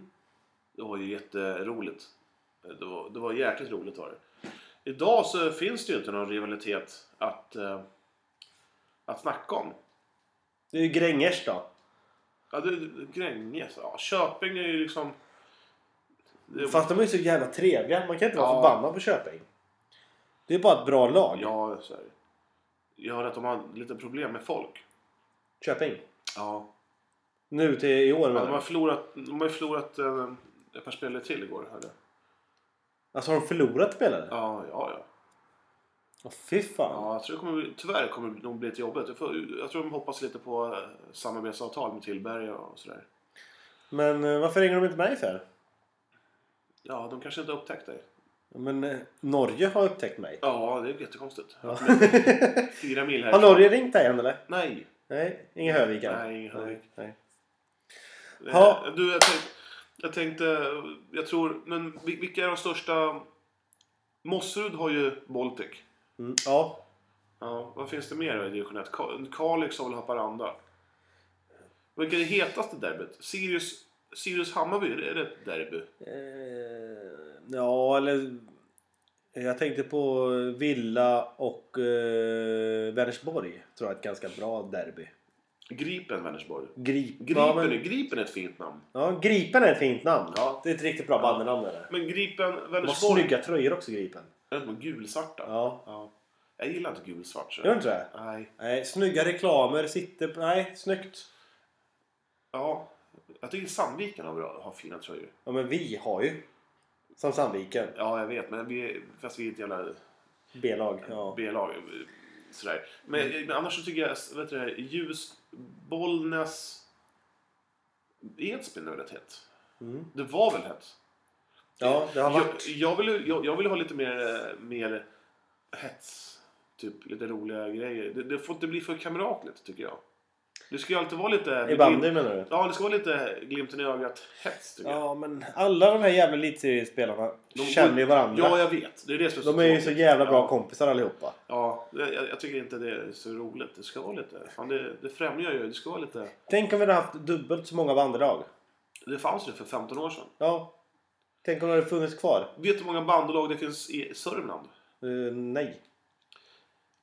B: Det var ju jätteroligt. Det var, det var jäkligt roligt var det. Idag så finns det ju inte någon rivalitet att, eh, att snacka om.
A: Det är ju Gränges då.
B: Ja, det är Gränges. Ja, Köping är ju liksom... Det,
A: Fast de är ju så jävla trevliga. Man kan inte vara
B: Ja.
A: förbannad på Köping. Det är bara ett bra lag.
B: Ja, så är det. Jag hörde att de har lite problem med folk.
A: Köping.
B: Ja.
A: Nu till i år
B: De
A: menar
B: har
A: jag.
B: förlorat, de har ju förlorat eh, ett par spelare till igår. Hörde. jag.
A: Alltså har de förlorat spelare? Ja.
B: Ja, ja, ja.
A: fy fan.
B: Ja, jag tror det kommer, bli- tyvärr kommer det nog bli ett jobbigt. Jag, får, jag tror de hoppas lite på eh, samarbetsavtal med Tillberga och sådär.
A: Men eh, varför ringer de inte mig för?
B: Ja, de kanske inte har upptäckt dig.
A: Men eh, Norge har upptäckt mig.
B: Ja, det är jättekonstigt.
A: Ja.
B: Fyra mil
A: Har
B: härifrån.
A: Norge ringt dig än eller?
B: Nej.
A: Nej, inga Höviken.
B: Nej, ingen Hövik.
A: nej. Ja.
B: Ja. Eh, Du, jag, tänk, jag tänkte, jag tror, men vil- vilka är de största? Mosserud har ju Baltic.
A: Mm, ja.
B: Ja, vad finns det mer i division 1? Ka- Kalix har väl Haparanda? Vilka är det hetaste derbyt? Sirius, Sirius Hammarby, är det ett derby?
A: Eh, ja, eller... Jag tänkte på Villa och eh, Vänersborg. Tror jag är ett ganska bra derby.
B: Gripen Vänersborg.
A: Grip,
B: Gripen,
A: ja, men-
B: är- Gripen är ett fint namn.
A: ja, Gripen är ett fint namn.
B: Ja.
A: Det är ett riktigt bra bandnamn. Ja.
B: Men Gripen
A: De har
B: Vänersborg...
A: snygga tröjor också, Gripen.
B: Är det gulsvarta?
A: Ja.
B: ja. Jag gillar inte gulsvart. så-
A: Gör du inte det?
B: Nej.
A: Nej, snygga reklamer, sitter... Nej, snyggt.
B: Ja. Jag tycker Sandviken har, bra, har fina tröjor.
A: Ja, men vi har ju. Som Sandviken.
B: Ja, jag vet. Men vi, fast vi är ett jävla
A: B-lag. Ja. Mm.
B: B-lag. Sådär. Men, men annars så tycker jag vet du, det här, Ljus, Bollnäs, Edsbyn är väl rätt hett?
A: Mm.
B: Det var väl hett?
A: ja, det har
B: Jag,
A: varit.
B: jag, vill, jag, jag vill ha lite mer, eh, mer hets. Typ lite roliga grejer. Det, det får inte bli för kamratligt tycker jag. Det ska ju alltid vara lite...
A: I bandy menar du?
B: Ja, det ska vara lite glimten i ögat hets tycker jag.
A: Ja, men alla de här jävla elitseriespelarna
B: De-
A: känner ju varandra.
B: Ja, jag vet. Det är det som är
A: De är ju
B: tråkigt.
A: så jävla bra
B: ja.
A: kompisar allihopa.
B: Ja, jag, jag- jag tycker inte det är så roligt. Det ska vara lite... Fan, det, det främjar ju. Det ska vara lite...
A: Tänk om vi hade haft dubbelt så många bandelag.
B: Det fanns ju för 15 år sedan.
A: Ja. Tänk om det hade funnits kvar.
B: Vet du hur många bandelag det finns i Sörmland?
A: Eh, nej.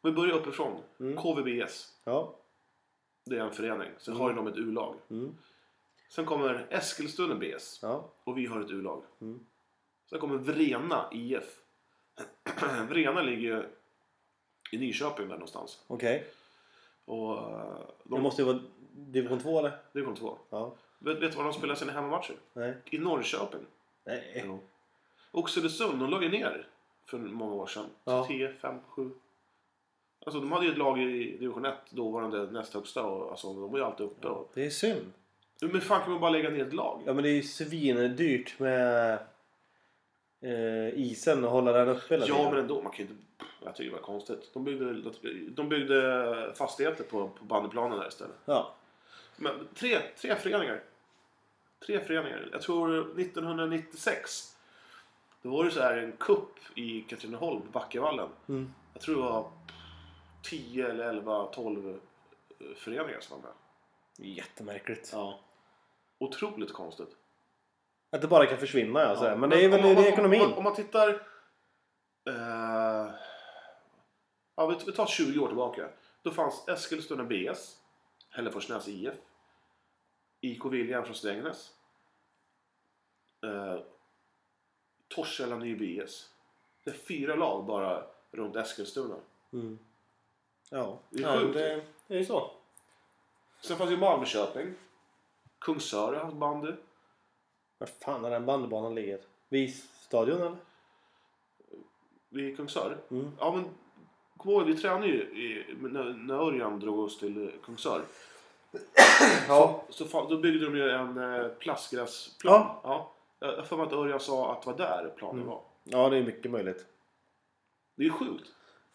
B: Vi börjar uppifrån.
A: Mm.
B: KVBS.
A: Ja.
B: Det är en förening. Sen har ju de ett U-lag.
A: Mm.
B: Sen kommer Eskilstuna BS.
A: Ja.
B: Och vi har ett U-lag.
A: Mm.
B: Sen kommer Vrena IF. Vrena ligger ju i Nyköping där någonstans.
A: Okej.
B: Och eh,
A: Det
B: de,
A: måste ju vara division 2 eller?
B: det kom två.
A: Ja.
B: Vet, vet du var de spelar sina hemmamatcher?
A: Nej.
B: I Norrköping.
A: Nej.
B: Jo. Oxelösund, de la ju ner för många år sedan.
A: Ja.
B: 10, 5, 7. Alltså de hade ju ett lag i division 1, dåvarande näst högsta. Och, alltså, de var ju alltid uppe. Och,
A: Det är synd.
B: men hur fan kan man bara lägga ner ett lag?
A: Ja men det är ju svindyrt med eh, isen och hålla den uppe hela
B: Ja,
A: tiden.
B: men ändå. Man kan ju inte... Jag tycker det var konstigt. De byggde, de byggde fastigheter på, på bandyplanen där istället.
A: Ja.
B: Men tre, tre föreningar. Tre föreningar. Jag tror 1996. Då var det så här en kupp i Katrineholm, på Backevallen.
A: Mm.
B: Jag tror det var 10 eller 11, 12 eh, föreningar som var med.
A: Jättemärkligt.
B: Ja. Otroligt konstigt.
A: Att det bara kan försvinna ja, sådär.
B: Ja,
A: Alltså, Men det är väl
B: om,
A: det är
B: om-
A: ekonomin.
B: Om, man- om man tittar... eh, ja, vi, vi tar 20 år tillbaka. Då fanns Eskilstuna BS, Hälleforsnäs IF, IK Viljan från Strängnäs, eh, Torshälla Ny BS. Det är fyra lag bara runt Eskilstuna.
A: Mm. Ja.
B: Det är
A: ja,
B: sjukt.
A: det, det är ju så.
B: Sen fanns ju Malmököping, Kungsör har haft bandy.
A: Var fan har den bandybanan ligger? Vid stadion eller?
B: vid Kungsör.
A: Mm.
B: Ja, men kom ihåg, vi tränade ju i, när, när Örjan drog oss till eh, Kungsör.
A: Ja.
B: Så fa- då byggde de ju en eh, plastgräsplan.
A: Ja.
B: Ja. Jag jag har för mig att Örjan sa att det var där planen
A: Mm.
B: var.
A: Ja det är mycket möjligt.
B: Det är ju sjukt.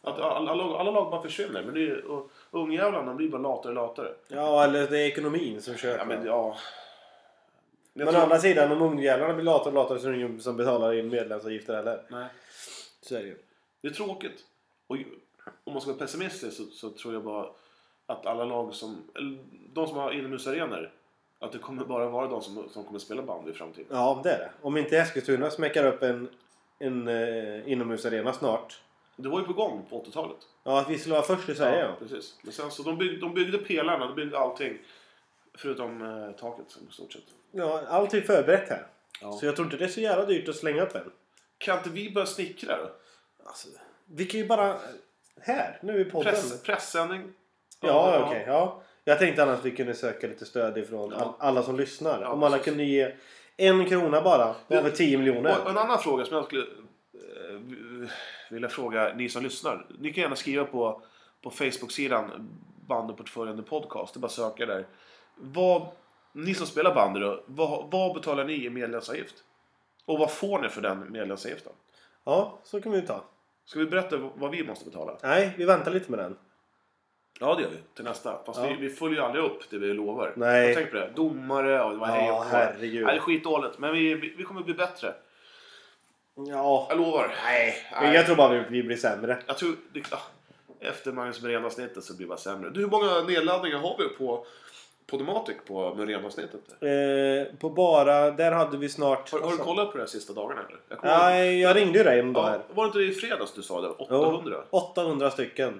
B: Att alla, alla, alla lag bara försvinner. Men det är, ju- och ungjävlarna blir bara latare och latare.
A: Ja eller det är ekonomin som kör.
B: Ja,
A: men
B: men ja. Jag
A: å
B: tror-
A: andra sidan om ungjävlarna blir latare och latare så är det ingen som betalar in medlemsavgifter heller.
B: Nej.
A: Så är det ju.
B: Det är tråkigt. Och ju- om man ska vara pessimistisk så, så tror jag bara att alla lag som, eller de som har inomhusarenor, att det kommer bara vara de som, som kommer spela bandy i framtiden.
A: Ja det är det. Om inte Eskilstuna smäckar upp en, en eh, inomhusarena snart.
B: Det var ju på gång på 80-talet.
A: Ja att vi skulle vara först i Sverige ja.
B: Precis. Men sen så de, bygg, de byggde pelarna, de byggde allting. Förutom eh, taket i stort sett.
A: ja. Allt är förberett här.
B: Ja.
A: Så jag tror inte det är så jävla dyrt att slänga upp en.
B: Kan inte vi börja snickra då?
A: Alltså, vi kan ju bara... Här, nu i podden.
B: Press, pressändning.
A: Ja, okej. ja. Jag tänkte annars att vi kunde söka lite stöd ifrån
B: Ja.
A: all, alla som lyssnar.
B: Ja,
A: Om alla
B: precis.
A: kunde ge en krona bara. Det var väl 10 miljoner.
B: Och en annan fråga som jag skulle eh, vilja fråga ni som lyssnar. Ni kan gärna skriva på, på Facebook-sidan Bandyportföljen The Podcast. Det är bara att söka där. Vad, ni som spelar bandy då, vad, vad betalar ni i medlemsavgift? Och vad får ni för den medlemsavgiften?
A: Ja, så kan vi ju ta.
B: Ska vi berätta vad vi måste betala?
A: Nej, vi väntar lite med den.
B: Ja, det gör vi. Till nästa. Fast
A: Ja.
B: vi, vi följer ju aldrig upp det vi lovar.
A: Nej.
B: Jag tänker på det. Domare och det var hej
A: Ja,
B: och hå.
A: herregud.
B: Nej, det är skitdåligt. Men vi, vi, vi kommer bli bättre.
A: Ja.
B: Jag lovar. Nej.
A: Men jag tror bara vi, vi blir sämre.
B: Jag tror... Det, ah, efter Magnus Brena-snittet så blir det bara sämre. Du, hur många nedladdningar har vi på, Podomatic på Muren-avsnittet.
A: Eh, på Bara, där hade vi snart...
B: Har, har du kollat på det här sista dagarna eller? Jag kommer ihåg-
A: Alltså. Nej, jag ringde ju dig om det här.
B: ja, var det inte det i fredags du sa det?
A: Jo,
B: 800?
A: 800 stycken.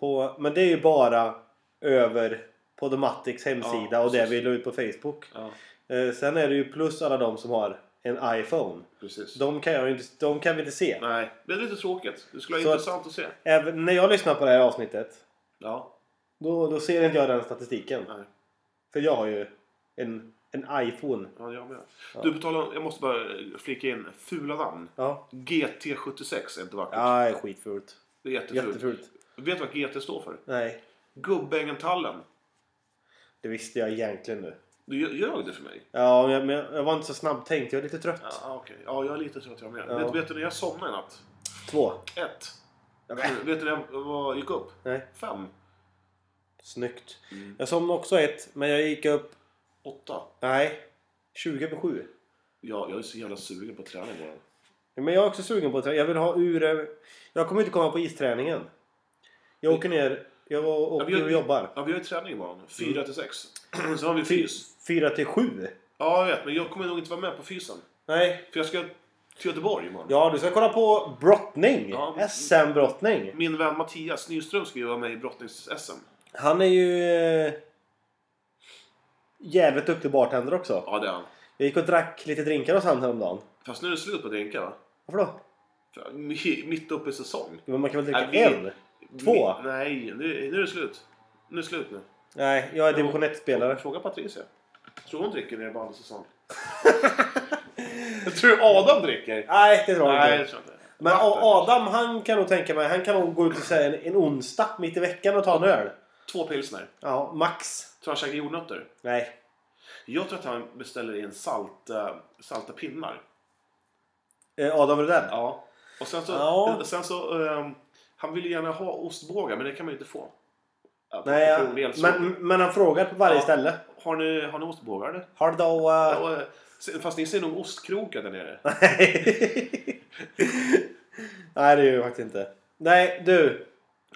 A: På, men det är ju bara över Podomatics hemsida
B: Ja,
A: och det
B: precis.
A: vi la ut på Facebook.
B: Ja,
A: Eh, sen är det ju plus alla de som har en iPhone.
B: precis.
A: De kan, jag ju inte, de kan vi inte se.
B: Nej, det är lite tråkigt. Det skulle vara
A: Så att-
B: intressant att se.
A: Även när jag lyssnar på det här avsnittet
B: Ja,
A: då, då ser inte jag den statistiken.
B: nej.
A: För jag har ju en, en iPhone.
B: Ja, jag med. Du betalar, jag måste bara eh, flika in fula namn.
A: Ja,
B: GT76 är inte vackert.
A: ja det är skitfult.
B: Det är jättefult.
A: Jättefult.
B: Vet du vad GT står för?
A: Nej,
B: Gubbängen-tallen.
A: det visste jag egentligen nu.
B: Du lj- ljög det för mig.
A: Ja, men jag, men jag var inte så snabbtänkt. Jag är lite trött.
B: Ja, ah, okej. Ja, jag är lite trött jag med.
A: Ja.
B: Vet, vet du när jag somnade i natt?
A: Två.
B: Ett.
A: Ja,
B: Vet du när jag var, gick upp?
A: Nej.
B: Fem.
A: Snyggt.
B: Mm.
A: Jag somnade också ett, men jag gick upp...
B: Åtta.
A: Nej, 20 på 7.
B: Ja, jag är så jävla sugen på träning bara.
A: Men jag är också sugen på att träna. Jag vill ha ur... eh, Jag kommer inte komma på isträningen. Jag åker ner... Jag
B: Ja,
A: åker
B: vi har-
A: och jobbar.
B: Ja, vi har ju träning imorgon.
A: Mm.
B: Fyra till sex. Sen har vi fys.
A: 4 till 7?
B: Ja, jag vet. Men jag kommer nog inte vara med på fysen.
A: Nej.
B: För jag ska till Göteborg imorgon.
A: Ja, du ska kolla på brottning.
B: Ja, men-
A: SM-brottning.
B: Min vän Mattias Nyström ska ju vara med i brottnings-SM.
A: Han är ju... Eh, jävligt duktig bartender också.
B: Ja, det är han.
A: Jag gick och drack lite drinkar hos han häromdagen.
B: Fast nu är det slut på drinkar va?
A: Varför då?
B: För- mi- Mitt uppe i säsong.
A: Men man kan väl dricka
B: Nej, vi-
A: en? Två?
B: Mi- Nej, nu, nu är det slut. Nu är det slut nu.
A: Nej, jag är division 1-spelare.
B: Fråga Patricia. Tror hon dricker när det är vanlig säsong? jag tror Adam dricker.
A: Nej, det tror jag inte.
B: Nej, jag tror inte.
A: Men
B: Vatten.
A: A- Adam han kan nog tänka mig, han kan nog gå ut och säga en, en onsdag mitt i veckan och ta en öl.
B: Två pilsner.
A: Ja, max.
B: Tror han käkar jordnötter?
A: Nej.
B: Jag tror att han beställer in salt, eh, salta pinnar.
A: Eh, Adam är du där?
B: Ja. Och sen så...
A: Ja.
B: Sen så ehm, han vill ju gärna ha ostbågar men det kan man ju inte få. Ja,
A: Nej,
B: för en del
A: jag,
B: så-
A: men, men han frågar på varje
B: Ja.
A: ställe.
B: Har ni, har ni ostbågar eller?
A: Har du då... eh,
B: Ja, eh, se- Fast ni ser nog ostkrokar där nere.
A: Nej. Nej, det gör jag faktiskt inte. Nej, du.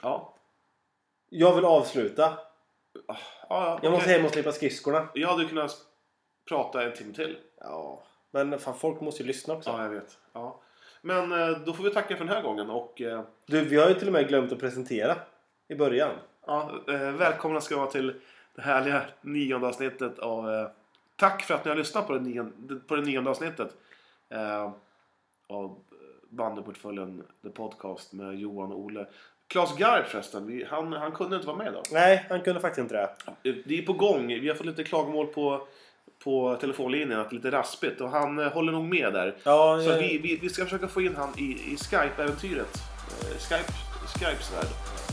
B: Ja.
A: Jag vill avsluta.
B: ja, ja
A: Jag måste
B: okej.
A: hem och slipa skridskorna.
B: Jag hade kunnat s- prata en timme till.
A: Ja. Men fan, folk måste ju lyssna också.
B: Ja, jag vet. Ja. Men eh, då får vi tacka för den här gången och eh,
A: Du, vi har ju till och med glömt att presentera i början.
B: ja, eh, välkomna ska ni vara till det härliga nionde avsnittet av eh, Tack för att ni har lyssnat på det nionde, på det nionde avsnittet eh, av Bandyportföljen The Podcast med Johan och Olle. Claes Garp förresten, vi, han, han kunde inte vara med idag.
A: Nej, han kunde faktiskt inte det.
B: Det är på gång. Vi har fått lite klagomål på, på telefonlinjen att det är lite raspigt och han eh, håller nog med där.
A: Ja,
B: Så
A: jag-
B: att vi, vi, vi ska försöka få in han i, i Skype-äventyret. Eh, Skype, Skypes värld.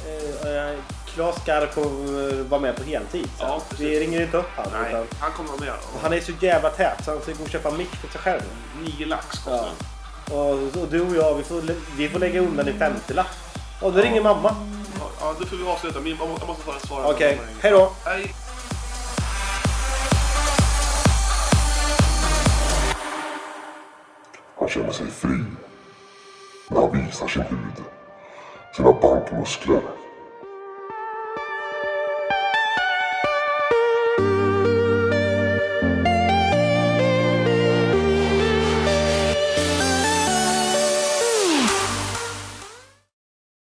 A: Eh, eh, Claes Garp kommer eh, vara med på heltid. så
B: Ja, precis.
A: vi ringer inte upp han,
B: Nej,
A: utan
B: han kommer vara med.
A: Han är så jävla tät så han ska gå och köpa mick till sig själv.
B: Nio lax kostar
A: Ja.
B: han.
A: Och, och du och jag, vi får, lä- vi får lägga undan en femtilapp. Och nu ringer mamma.
B: ja. ja, då får vi avsluta. Min, jag måste- jag måste ta en svara.
A: Okej, hej då!
B: Hej.
E: Han känner sig fri. Men han visar sin hud. Sina bankmuskler.